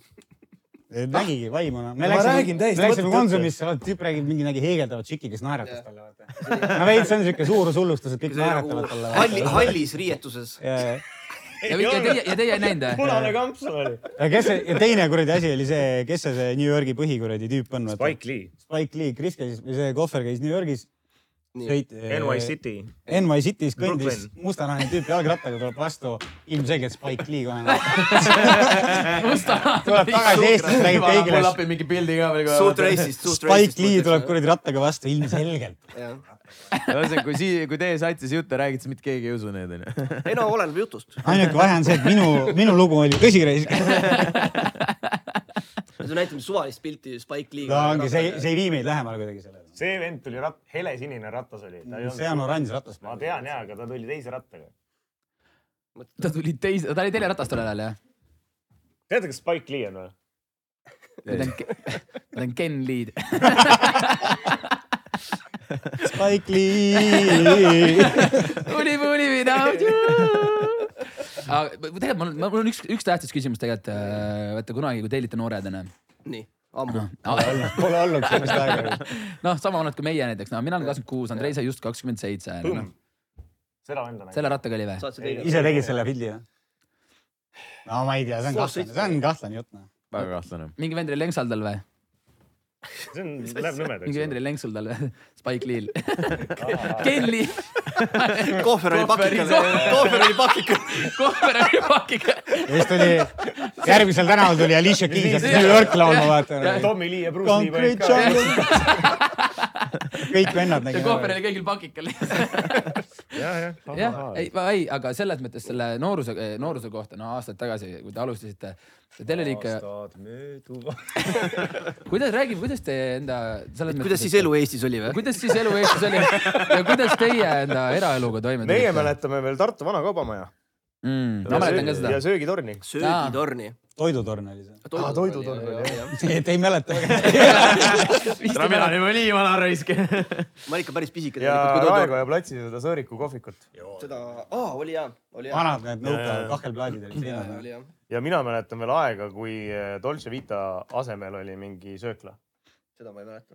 H: nägigi vaimuna .
J: Ma räägin täiesti
H: me läksime
J: mõttetu
H: Konsumisse , vaat tüüp räägib mingi nägi heegeldavat tšiki , kes naeratas talle , vaata . no veits on siuke suurushullustus , et kõik naeratavad talle .
G: halli , hallis riietuses .
A: ja teie , ja teie ei näinud eh?
J: punane kamps oli .
H: ja kes see , ja teine kuradi asi oli see , kes see , see New Yorgi põhikuradi tüüp on , vaata .
J: Spike Lee .
H: Spike Lee , Kris käis , või see kohver käis New Yorgis .
J: NY City.
H: NY City's kõndis
J: Brooklyn.
H: mustanahaline tüüp jalgrattaga tuleb vastu , ilmselgelt Spike Lee kohe .
C: Mustanahaline
H: tuleb tagasi Eestisse , räägib
C: Vana
H: kõigile
C: pull up'i mingi pildi ka veel kohe. Suurt racist, suurt racist
H: Spike Lee
C: mõtleks,
H: tuleb
C: jah.
H: kuradi rattaga vastu , ilmselgelt .
C: ühesõnaga , kui sii- , kui teie satsis jutte räägite , siis mitte keegi ei usu neid onju .
G: ei no oleneb jutust .
H: ainuke vahe on see , et minu , minu lugu oli tõsireis .
G: sa näitad suvalist pilti Spike Lee'ga .
H: no ongi , see , see ei vii meid lähemale kuidagi sellele .
J: see vend tuli rat- , helesinine ratas oli .
H: See on oranž ratas.
J: ma tean ja , aga ta tuli teise rattaga .
A: ta tuli teise , ta oli teleratas tol ajal jah ?
J: teate , kes Spike Lee on või ?
A: ma olen Ken Lead .
H: Spike Lee .
A: Univ , univ , without you . aga tegelikult mul on , mul on üks , üks tähtis küsimus tegelikult . vaata kunagi , kui tellite noored onju .
G: nii , ammu .
H: Pole olnud sellist aega .
A: noh , sama vanad kui meie näiteks , no mina olen kakskümmend kuus , Andrei sai just kakskümmend seitse .
H: Põmm.
J: seda venda nägin .
A: selle rattaga oli või ?
H: ise tegid selle pildi või ? no ma ei tea , see on kahtlane , see on kahtlane jutt noh .
C: väga kahtlane .
A: mingi vend oli Lenksaldal või ?
J: see on , läheb nõmedaks .
A: mingi vend oli Lenksaldal või ? Spike Lee'l . Kelly .
G: kohver oli pakikal , kohver oli pakikal .
A: kohver oli pakikal .
H: ja siis tuli , järgmisel tänaval tuli Alicia Keys hakkas New York laulma , vaata .
J: Tommy Lee ja Bruce Lee
H: Concrete
J: panid ka .
H: jungle . kõik vennad
A: ja
H: nägid .
A: kohver oli kõigil pakikal . jah , ei , ei , aga selles mõttes selle nooruse , nooruse kohta , no aastaid tagasi , kui te alustasite , teil oli ikka ,
J: aastad mööduvad .
A: kuidas , räägi , kuidas te enda selles mõttes .
G: kuidas siis elu Eestis oli või ?
A: kuidas siis elu Eestis oli ja kuidas teie enda eraeluga toime
J: meie mäletame veel Tartu vana kaubamaja .
A: mm, . ma mäletan ka seda
J: ja . söögitorni .
G: söögitorni .
H: toidutorn oli see .
J: aa , toidutorn oli jah .
H: et ei mäleta .
C: no mina olen juba nii vana raisk .
G: ma olin ikka päris pisike
J: ja
G: tegelikult , kui toidu .
J: Raekoja platsil seda Sõõriku kohvikut .
G: seda , aa , oli hea , oli hea .
H: vanad need nõukaajad , kahvelplaadid olid
G: oli
H: siin .
G: hea .
J: ja mina mäletan veel aega , kui eh, Dolce Vita asemel oli mingi söökla
G: seda ma ei mäleta .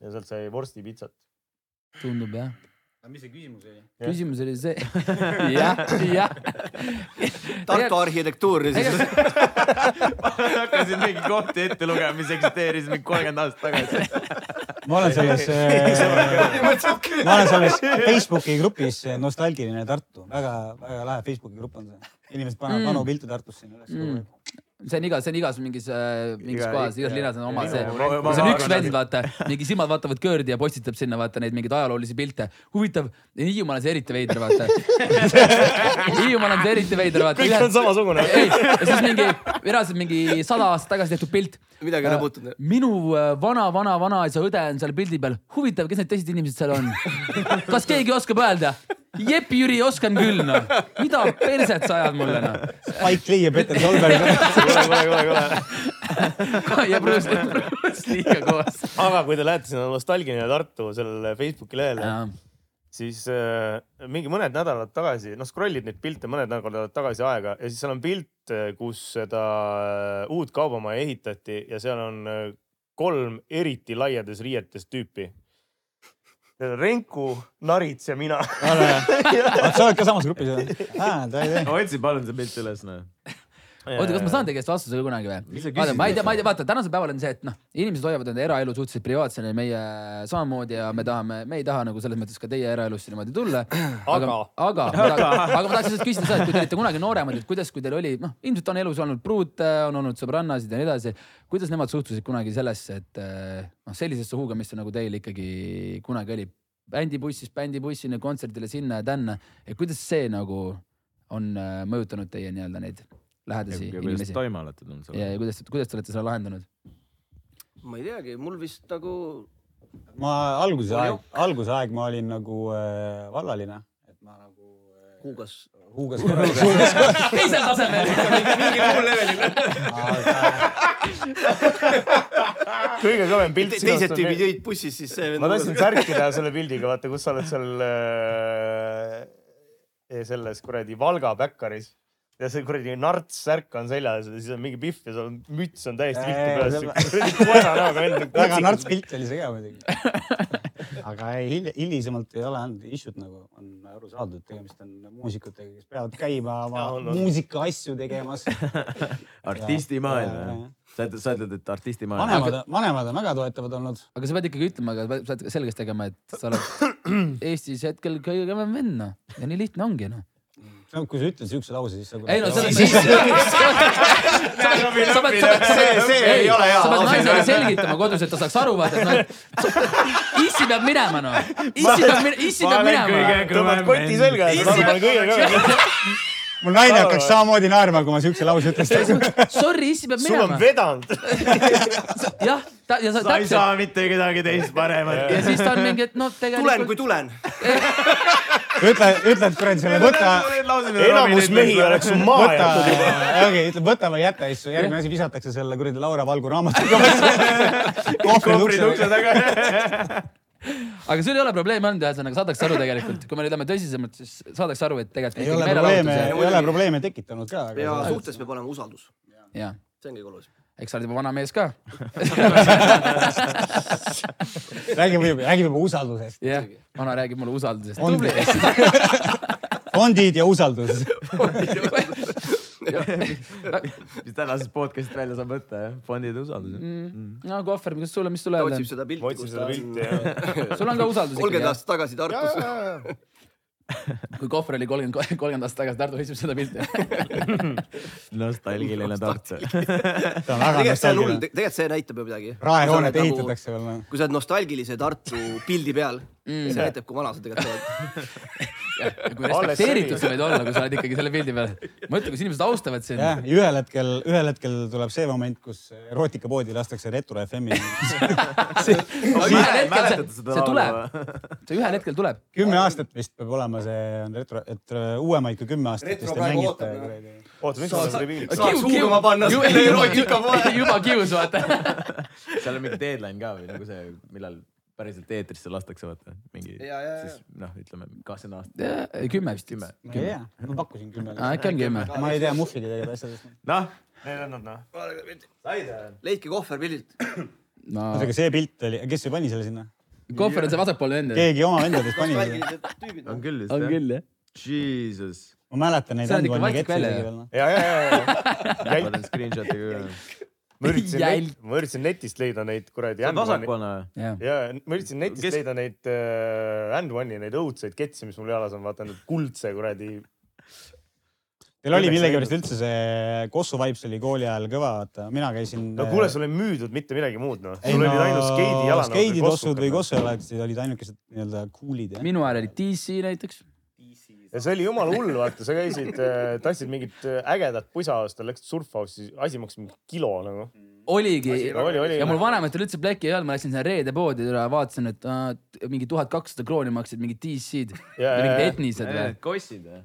J: ja sealt sai vorstipitsat .
A: tundub jah .
H: aga mis see küsimus oli ?
A: küsimus oli see , jah , jah .
G: Tartu arhitektuur ja siis .
C: hakkasin mingi kohti ette lugema , mis eksisteeris mingi kolmkümmend aastat tagasi .
H: ma olen selles , ma olen selles Facebooki grupis äh, Nostalgiline Tartu , väga-väga lahe Facebooki grupp on see . inimesed panevad
A: Mm.
H: vanu pilte Tartust sinna üles
A: Mm. . see on igas , see on igas mingis , mingis
C: Iga-
A: kohas , igas
C: iga-
A: linnas on oma
C: iga-
A: see .
C: ma- ma- ma-
A: see on
C: ma-
A: üks
C: ma-
A: vend , vaata , mingi silmad vaatavad köördi ja postitab sinna , vaata neid mingeid ajaloolisi pilte . huvitav , Hiiumaal on see eriti veider , vaata . Hiiumaal on see eriti veider , vaata .
J: kõik on samasugune .
A: ei , ja siis mingi , reaalselt mingi sada aastat tagasi tehtud pilt .
G: Midagi ei rebutud. .
A: minu äh, vana , vana , vanaisa õde on seal pildi peal . huvitav , kes need teised inimesed seal on ? kas keegi oskab öelda ? jep , Jüri , oskan küll , noh . mida perset sa ajad mulle , noh .
H: Spike Lee ja Peter Solberg .
J: kuule , kuule , kuule , kuule . ja Bruce , Bruce Lee'ga koos . aga kui te lähete sinna Nostalgiline Tartu sellele Facebooki lehele , siis äh, mingi mõned nädalad tagasi , noh scroll'id neid pilte mõned nädalad tagasi aega ja siis seal on pilt , kus seda äh, uut kaubamaja ehitati ja seal on äh, kolm eriti laiades riietes tüüpi . Renku , Narits ja mina .
H: sa oled ka samas grupis või ?
C: otsi palun see pilt üles , noh .
A: oota , kas ma saan teie käest vastuse kunagi või
C: Mis sa ?
A: vaata ,
C: küsid
A: ma ei tea , ma ei tea , vaata tänasel päeval on see , et noh , inimesed hoiavad enda eraelu suhteliselt privaatsena ja meie samamoodi ja me tahame , me ei taha nagu selles mõttes ka teie eraelusse niimoodi tulla . aga , aga , aga aga ma tahaks lihtsalt küsida seda , et kui te olite kunagi nooremad , et kuidas , kui teil oli , noh , ilmselt on elus olnud pruute , on olnud sõbrannasid ja nii edasi . kuidas nemad suhtusid kunagi sellesse , et eh, noh , sellisesse huugamisse nagu teil ikkagi kunagi oli ? bändibussist bändibussini , kontserdile sinna ja tänna . et kuidas see nagu on eh, mõjutanud teie nii-öelda neid lähedasi
C: ja kuidas
A: inimesi ?
C: toime alatud on
A: ja ,
C: seal ?
A: ja kuidas , kuidas te olete selle lahendanud ?
G: ma ei teagi , mul vist nagu
H: ma alguse aeg , alguse aeg ma olin nagu äh, vallaline .
G: huugas .
H: äh, huugas .
G: teisel tasemel mingi , mingi muul levelil .
J: kõige kõvem pilt .
G: teised tüübid jõid bussis , siis see .
J: ma tahtsin särkida selle pildiga , vaata , kus sa oled seal äh, selles kuradi Valga päkkaris ja see kuradi narts särk on seljas ja siis on mingi pihv ja sul on müts on täiesti viltu peas . kuradi koera näoga vend .
H: väga narts pilt oli see ka muidugi . aga ei, hil- hilisemalt ei ole olnud issue't nagu on aru saadud , tegemist on muusikutega , kes peavad käima oma muusikaasju tegemas .
C: artistimaailm , jah ? sa , sa ütled , et artistimaailm .
H: vanemad , vanemad on väga toetavad olnud .
A: aga sa pead ikkagi ütlema , aga sa pead selgeks tegema , et sa oled Eestis hetkel kõige kõvem vend noh ja nii lihtne ongi noh .
H: no kui sa ütled siukse lause , siis sa .
A: ei no selles mõttes . sa pead , sa pead ,
H: See- see ei ole hea
A: sa pead
H: lause.
A: naisele selgitama kodus , et ta saaks aru , vaata , et noh , issi peab minema noh , issi peab minema , issi peab minema .
J: tõmbad koti selga ja
A: Issi-
J: siis ma olen kõige kõvem .
H: mul naine hakkaks samamoodi naerma , kui ma siukse lause ütleks .
A: Sorry , issi peab
J: sul on
A: minema .
J: vedanud .
A: jah , ta ja sa täpselt
C: mitte kedagi teist paremat
A: ja siis ta on mingi , et noh ,
G: tulen ,
A: tegelikult
G: kui tulen .
H: ütle , ütle , et kuradi selle võta ,
J: enamus mehi oleks maha
H: võta ,
J: jätnud juba .
H: okei , ütle võta või jäta ja siis järgmine asi visatakse selle kuradi Laura Valgu raamatuga . kohvrid ukse taga .
A: aga sul ei ole probleemi olnud , ühesõnaga saadakse aru tegelikult , kui me nüüd lähme tõsisemalt , siis saadakse aru , et tegelikult
H: ei
A: ikkagi
H: ole
A: meelelahutus
H: probleeme ,
A: ja-
H: ei ole probleeme tekitanud ka .
G: ja suhtes peab olema usaldus ,
A: jah ,
G: see on kõige olulisem .
A: eks sa oled juba vana mees ka .
H: räägime juba , räägime juba usaldusest .
A: jah , vana räägib mulle usaldusest .
H: On-
A: tubli .
H: fondid ja usaldus .
C: mis tänasest podcast'ist välja saab võtta , jah ? fondide usaldus .
A: Mm. no Kohver , mis sulle , mis sulle
G: ta
A: öelda
G: otsib ? seda
J: ma
G: pilti ,
J: otsin
G: kus
J: seda
G: ta
J: pilti ja .
G: on .
A: sul on ka usaldus ikkagi
G: kolmkümmend
A: jah ?
G: aastat tagasi Tartus .
A: kui Kohver oli kolmkümmend , kolmkümmend aastat tagasi , Tartu otsib seda pilti .
C: nostalgiline Tartu .
H: ta on väga
G: tegelikult see on hull ,
H: nostalgiline .
G: tegelikult see näitab ju midagi .
H: raehoonet . nagu- ehitatakse veel .
G: nagu-
H: noh.
G: kui sa oled nostalgilise Tartu pildi peal mm, , see näitab , kui vana sa tegelikult oled .
A: kui respekteeritud sa võid olla , kui sa oled ikkagi selle pildi peal . mõtle , kus inimesed austavad sind .
H: jah , ja ühel hetkel , ühel hetkel tuleb see moment , kus erootikapoodi lastakse Retro FM-i .
C: mäletate seda
A: see
C: laulu
A: tuleb , see ühel hetkel tuleb .
H: kümme aastat vist peab olema see on retro , et äh, uuemaid kui kümme aastat
G: Retro
H: vist ei
G: praegu
H: mängita
G: ootab, .
J: oota , miks ma seda ei viinud ?
G: saaks huugama panna selle erootika poole .
A: juba kius , vaata .
C: seal on mingi deadline ka või nagu see , millal päriselt eetrisse lastakse , vaata mingi .
G: Ja, ja, ja.
C: siis noh , ütleme kakskümmend aastat .
A: Äh, kümme vist .
C: Kümme.
H: ma ei tea , ma pakkusin kümme .
A: äkki on kümme .
H: ma ei tea Muffiga tegelikult asjadest .
C: noh ,
J: Need on nad noh .
G: leidke kohver pildilt .
H: oota , aga see pilt oli , kes see pani selle sinna ?
A: Kohver on see vasakpoolne vend .
H: keegi oma vendadest pani selle .
G: nostalgilised tüübid .
C: on küll vist
A: on
C: jah .
A: küll jah .
C: Jesus .
H: ma mäletan neid
A: See on ikka
H: Antoni
A: vaikselt
H: ketse
A: välja,
H: isegi
A: jah.
H: veel noh .
J: ja , ja , ja , ja .
C: ma panen screenshot'i ka üle .
J: ma üritasin
A: Jälg.
J: net, , ma üritasin netist leida neid kuradi
C: see on
J: N1-i ,
C: vasakpoolne või ?
J: ja ma üritasin netist
C: Kes-
J: Kes... leida neid uh, N1-i , neid õudseid ketsi , mis mul jalas on , vaata need kuldse kuradi .
H: Teil oli millegipärast üldse see Kossu Vibes oli kooli ajal kõva , vaata , mina käisin . äh,
J: no kuule , sul ei müüdud mitte midagi muud noh , sul olid ainult skeidi noh, jalanõud .
H: skeididossud või . kossujalad olid ainukesed nii-öelda cool'id jah .
A: minu ajal oli DC näiteks .
J: ja see oli jumala hull , vaata , sa äh, käisid uh, , tahtsid mingit äh, ägedat pusa osta , läksid surfhouse'i , asi maksis mingi kilo nagu .
A: oligi
J: Oli, oli,
A: ja
J: oli.
A: mul vanematel üldse plekki ei olnud , ma läksin sinna reede poodi ja vaatasin , et äh, mingi tuhat kakssada krooni maksid mingid DC-d , mingid etnised või .
C: kossid või ?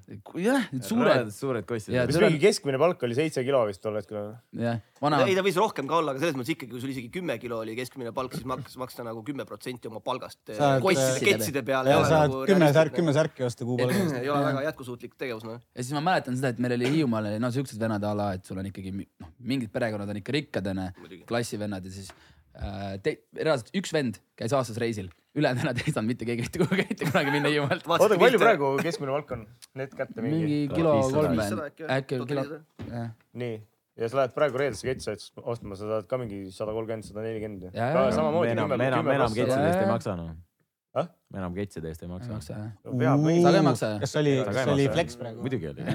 A: jah , need suured ,
C: suured kossid .
A: Jaa,
J: mis
A: tuleb-
J: mingi keskmine palk oli seitse kilo vist tol hetkel noh. või ?
A: jah ,
G: Vana...
A: vana ,
G: ei , ta võis rohkem ka olla , aga selles mõttes ikkagi , kui sul isegi kümme kilo oli keskmine palk , siis maks- , maksta nagu kümme protsenti oma palgast
H: Saad,
G: kosside ,
A: äh,
G: ketside peale .
H: ja saad
A: nagu
H: kümme särk , kümme särki osta kuupalga eest .
G: ei ole väga jätkusuutlik tegevus , noh .
A: ja siis ma mäletan seda , et meil oli Hiiumaal oli no siuksed vennad a la , et sul on ikkagi mi- noh , mingid perekonnad on ikka rikkad onju , klassivennad ja siis äh, te, reaalselt üks vend käis aastas reisil , ülejäänud vennad ei saanud mitte keegi mitte kuhugi mitte kunagi minna Hiiumaalt .
J: oota , kui palju praegu keskmine palk on ? Need kätte mingi .
A: mingi kilo kolm
G: äkki
A: vend ,
G: või?
A: äkki
G: Tuhat
A: kilo
G: nelisada? ,
A: jah ,
J: nii , ja sa lähed praegu reedesse ketsi ots- ostma , sa saad ka mingi sada kolmkümmend , sada nelikümmend .
A: Jaa, jaa.
J: samamoodi
C: enam ,
J: kümme ,
C: enam ,
J: kümme
C: enam
J: pluss .
C: ketside eest ei
A: Jaa.
C: maksa noh
J: Ah? .
C: enam ketside eest ei
A: ei
C: maksa .
A: maksa jah . sa ka ei
J: peab
A: maksa jah ?
H: kas see oli ,
C: Sa ka ei
H: kas see oli
C: maksa.
H: flex praegu ?
C: muidugi oli .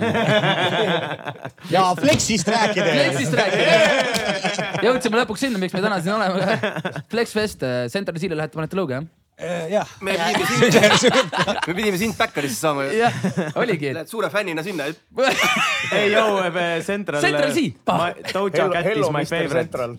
H: ja flex'ist rääkides
A: Flexist . rääkida . jõudsime lõpuks sinna , miks me täna siin oleme . Flexfest , äh, Central Seal'e lähete , panete lõuge jah ?
H: Äh, jah ,
G: me pidime sind , me pidime sind Backerisse saama ju .
A: jah , oligi .
G: Lähed suure fännina sinna ,
C: ei jõu , Central .
A: Central C. Pah.
C: Doja
J: Hello-
C: Cat is
J: Hello
C: my
J: Mr
C: favorite ,
J: Central ,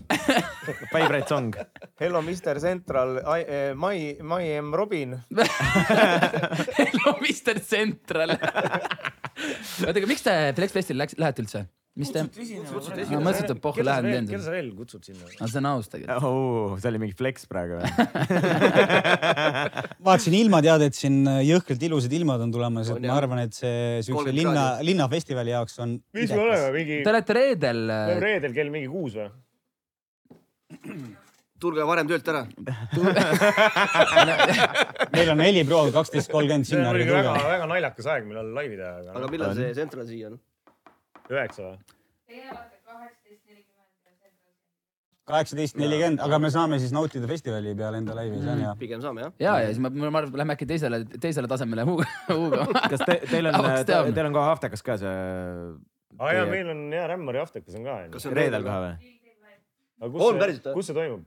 C: favorite song .
J: Hello Mr Central , eh, my , my am Robin .
A: Ah, Hello , Mr Central . oota , aga miks te Flexfestil läks , lähete üldse ? mis te ? ma mõtlesin , et pohhu lähen teen
R: keda
A: seda .
R: sa veel kutsud sinna ?
A: aga see on aus tegelikult .
C: see oli mingi flex praegu või ?
H: vaatasin ilmateadet siin , jõhkralt ilusad ilmad on tulemas , et
G: On,
H: ma
G: jah.
H: arvan , et see siukse
G: 30
H: linna ,
G: kraadi.
H: linnafestivali jaoks on .
J: mis me oleme , mingi ,
A: Te olete reedel . äh,
J: reedel kell mingi kuus või ?
G: tulge varem töölt ära .
H: meil on heliproov kaksteist kolmkümmend
J: see
H: sinna .
J: oli väga , väga naljakas aeg , millal laivi teha , aga
G: aga millal see Central siia on ?
J: noh üheksa või ?
H: kaheksateist nelikümmend , aga me saame siis nautida festivali peal enda laivi , see on hea .
G: pigem saame jah .
A: ja , ja siis ma , ma arvan , et lähme äkki teisele , teisele tasemele Hugo- Hugo .
C: kas te , teil on ,
A: Tahaks teada.
C: teil on kohe aftekas ka see
J: aa jaa ,
C: Teie-
J: meil on jaa , Rämmari aftekas on ka onju .
G: kas see on
C: reedel kohe ? või ?
G: On päriselt või?
J: kus see toimub ?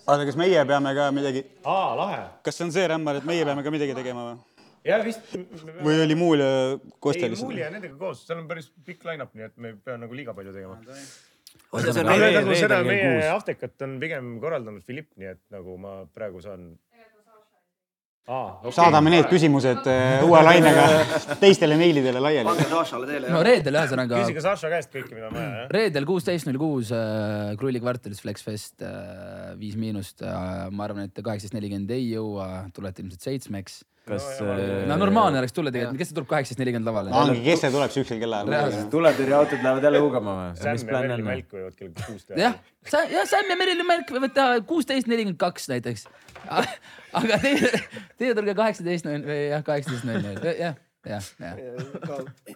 H: oota , kas meie peame ka midagi ,
J: aa , lahe .
H: kas see on see rämmar , et meie peame ka midagi tegema või ?
J: jah , vist .
H: või oli muul äh,
J: ei ,
H: Kostel ?
J: Muuli ja nendega koos , seal on päris pikk line-up , nii et me ei pea nagu liiga palju tegema .
G: oota , see on
J: aga
C: Reedel-
J: nagu
C: reedel
J: seda
C: kell
J: meie
C: kuus.
J: aftekat on pigem korraldanud Philipp , nii et nagu ma praegu saan . aa ,
H: saadame need küsimused äh, uue lainega teistele meilidele laiali .
G: pange Sašale teele
A: no
G: jah .
A: reedel ühesõnaga ,
J: küsige Saša käest kõike , mida on vaja , jah .
A: reedel kuusteist null kuus äh, Krulli kvartalis Flexfest äh, Viis Miinust . ma arvan , et kaheksateist nelikümmend ei jõua , tulete ilmselt seitsmeks .
C: kas äh,
A: no normaalne oleks tulla tegelikult , kes see tuleb kaheksateist nelikümmend lavale ?
H: Angi , kes see tuleb siukesel kellaajal ?
C: tuletõrjeautod lähevad jälle huugama või ?
J: Sam
C: mis
J: ja
C: plaan
J: Merli
C: on ?
J: Mälk võivad kell kuus teha
A: jah ., sa , jah , Sam ja Merilin Märk võivad teha kuusteist nelikümmend kaks näiteks . aga teie , teie tulge kaheksateist null , jah , kaheksateist null null , jah , jah , jah .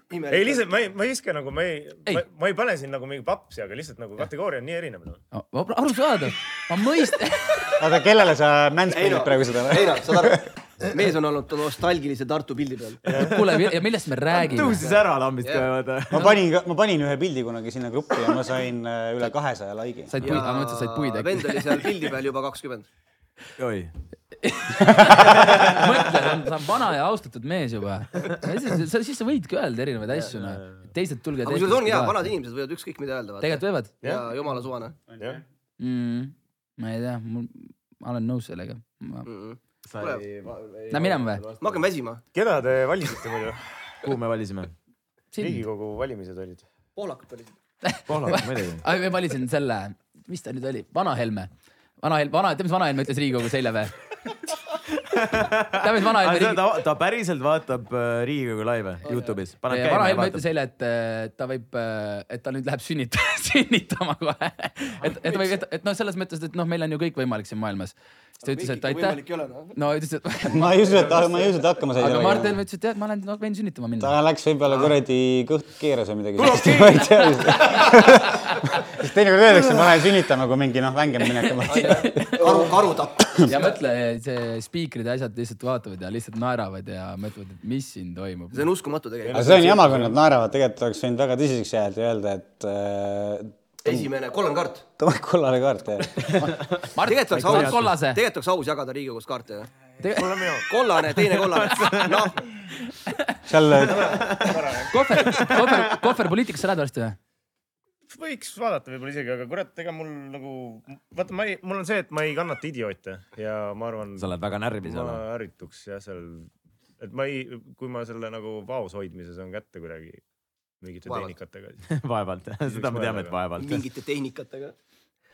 J: ei , lihtsalt ma ei , ma ei viska nagu , ma ei
A: Ei. ,
J: ma ei pane siin nagu mingi papsi , aga lihtsalt nagu kategooria on nii erinev .
A: arusaadav , ma mõistan .
H: oota , kellele sa
G: Heino
H: mansplain'id praegu seda ?
G: Heino , saad aru , mees on olnud nostalgilise Tartu pildi peal .
A: kuule , ja millest me räägime ?
C: tõusis ära lambist kohe , vaata .
H: ma panin , ma panin ühe pildi kunagi sinna gruppi ja ma sain äh, üle kahesaja like'i .
A: said puid , ma mõtlesin , et said puid
G: vend oli
A: äkki .
G: seal pildi peal juba kakskümmend .
C: oi ,
A: mõtle , ta on vana ja austatud mees juba . siis sa võidki öelda erinevaid asju , noh . teised tulge .
G: aga kusjuures on hea , vanad inimesed võivad ükskõik mida öelda .
A: tegelikult võivad
G: ja jumala suvane
A: mm, . ma ei tea , mul , ma olen nõus sellega .
G: mm . -mm.
C: sa
G: Kuule,
C: ei .
A: Lähme minema või ?
G: ma hakkan väsima .
J: keda te valisite muidu ?
C: kuhu me valisime ?
J: riigikogu valimised olid .
G: poolakad olid .
C: Pohlak muidugi .
A: Ai, ma valisin selle , mis ta nüüd oli , Vana Helme . Vana Helme , vana , tead , mis Vana Helme ütles Riigikogus eile või ? tead , mis Vana Helme riigi...
C: ta , ta päriselt vaatab äh, Riigikogu laive Youtube'is . paneb
A: Ja vana
C: käima ja
A: Helme ütles
C: vaatab .
A: eile , et äh, ta võib , et ta nüüd läheb sünnit- , sünnitama kohe . et , et või , et , et noh , selles mõttes , et noh , meil on ju kõik võimalik siin maailmas . siis ta ütles , et aitäh .
G: võimalik ei ole noh .
A: no ütles , et
H: ma ei usu , et , ma ei usu , et hakkama sai
A: aga Mart . Helme ütles , et jah , ma olen , ma võin sünnitama minna .
H: ta läks võib-olla kuradi kõht keeras või midagi . ma ei tea . siis teinekord öeldakse , ma lähen sünnitama , kui mingi noh , vängem minek on .
G: karu , karu tapp .
A: ja mõtle , see spiikrid ja asjad lihtsalt vaatavad ja lihtsalt naeravad ja mõtlevad , et mis siin toimub .
G: see on uskumatu tegelikult .
H: aga see on jama , kui nad naeravad , tegelikult oleks võinud väga tõsiseks jääda ja öelda , et äh,
G: esimene , kollane kaart .
H: tõmba kollane kaart ja .
G: tegelikult oleks
A: saad
G: aus ,
A: kollase.
G: tegelikult oleks aus jagada Riigikogus kaarte jah .
A: Tege-
G: kollane , teine kollane . noh ,
H: seal äh,
A: kohver , kohver , kohver poliitikasse lähed varsti või ?
J: võiks vaadata võib-olla isegi , aga kurat , ega mul nagu , vaata , ma ei , mul on see , et ma ei kannata idioote ja ma arvan .
C: Sa oled väga närvi seal.
J: ma ärrituks jah , seal , et ma ei , kui ma selle nagu vaos hoidmise saan kätte kuidagi mingite
G: Vaevalt.
J: tehnikatega .
C: vaevalt , seda me teame , et vaevalt .
G: mingite tehnikatega .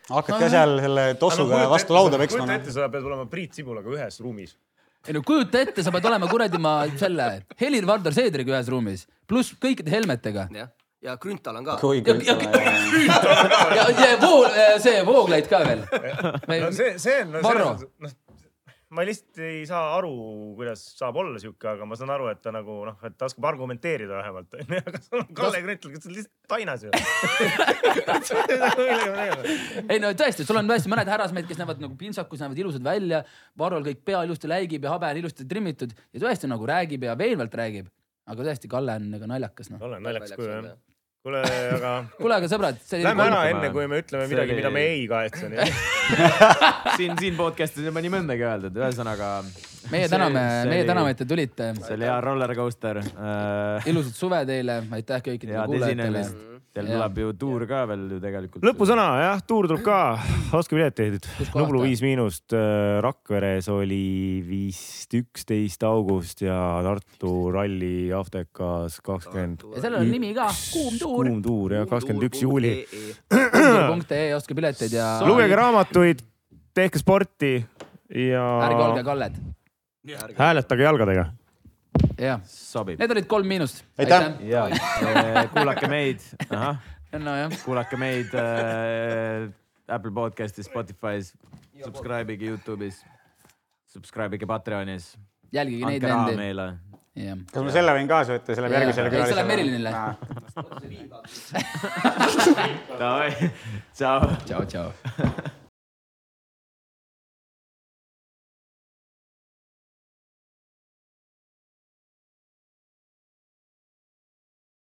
B: hakkad ka seal selle tossuga vastu lauda peksma .
H: noh.
J: kujuta ette , sa pead olema Priit Sibulaga ühes ruumis .
A: ei no kujuta ette , sa pead olema kuradi ma selle Helir-Valdor Seedriga ühes ruumis , pluss kõikide helmetega .
G: jah , ja Grünthal on ka .
A: Kui Grünthal on, ja , ja vool , see Vooglaid ka veel .
J: no see , see on no, .
A: Varro ,
J: noh , ma lihtsalt ei saa aru , kuidas saab olla sihuke , aga ma saan aru , et ta nagu noh , et ta oskab argumenteerida vähemalt onju , aga sul on Kalle Grünthal , kes on lihtsalt tainas ju .
A: ei no tõesti , sul on tõesti mõned härrasmehed , kes näevad nagu pintsakus , näevad ilusad välja , Varrol kõik pea ilusti läigib ja habe on ilusti trimmitud ja tõesti nagu räägib ja veenvalt räägib . aga tõesti , Kalle on nagu naljakas noh .
J: Kalle on naljakas kuju jah . kuule , aga .
A: kuule , aga sõbrad .
J: Lähme ära enne , kui me ütleme midagi , mida me ei kahetse .
C: siin , siin podcast'is juba nii mõndagi öeldud , ühesõnaga .
A: meie täname , meie täname , et te tulite .
C: see oli hea roller coaster .
A: ilusat suve teile , aitäh kõikidele
C: head
A: kuulajatele .
C: esinemist . Teil tuleb ju tuur ka veel ju tegelikult .
I: lõpusõna jah , tuur tuleb ka , ostke pileteid .
C: kohas
I: Nublu
C: ta?
I: viis miinust , Rakveres oli vist üksteist august ja Tartu ralli Aftekas kakskümmend .
A: ja sellel on nimi ka , kuum tuur .
I: kuum tuur jah , kakskümmend üks juuli .
A: punkt.ee , ostke pileteid ja .
I: lugege raamatuid , tehke sporti ja
A: ärge olge kalled .
I: hääletage jalgadega .
A: jah ,
C: sobib .
A: need olid kolm miinust .
I: Aitäh!
C: ja eh, kuulake meid , ahah ,
A: nojah ,
C: kuulake meid äh, Apple podcast'is , Spotify's , subscribe'ige Youtube'is , subscribe'ige Patreonis .
A: jälgige neid
C: andke raha
A: vendi .
C: meile .
B: kas ma selle võin kaasa võtta , selle
A: Jaa.
B: järgmisele
A: Ei, see läheb Merilinile.
B: Aa.
C: Davai , tšau .
A: tšau , tšau .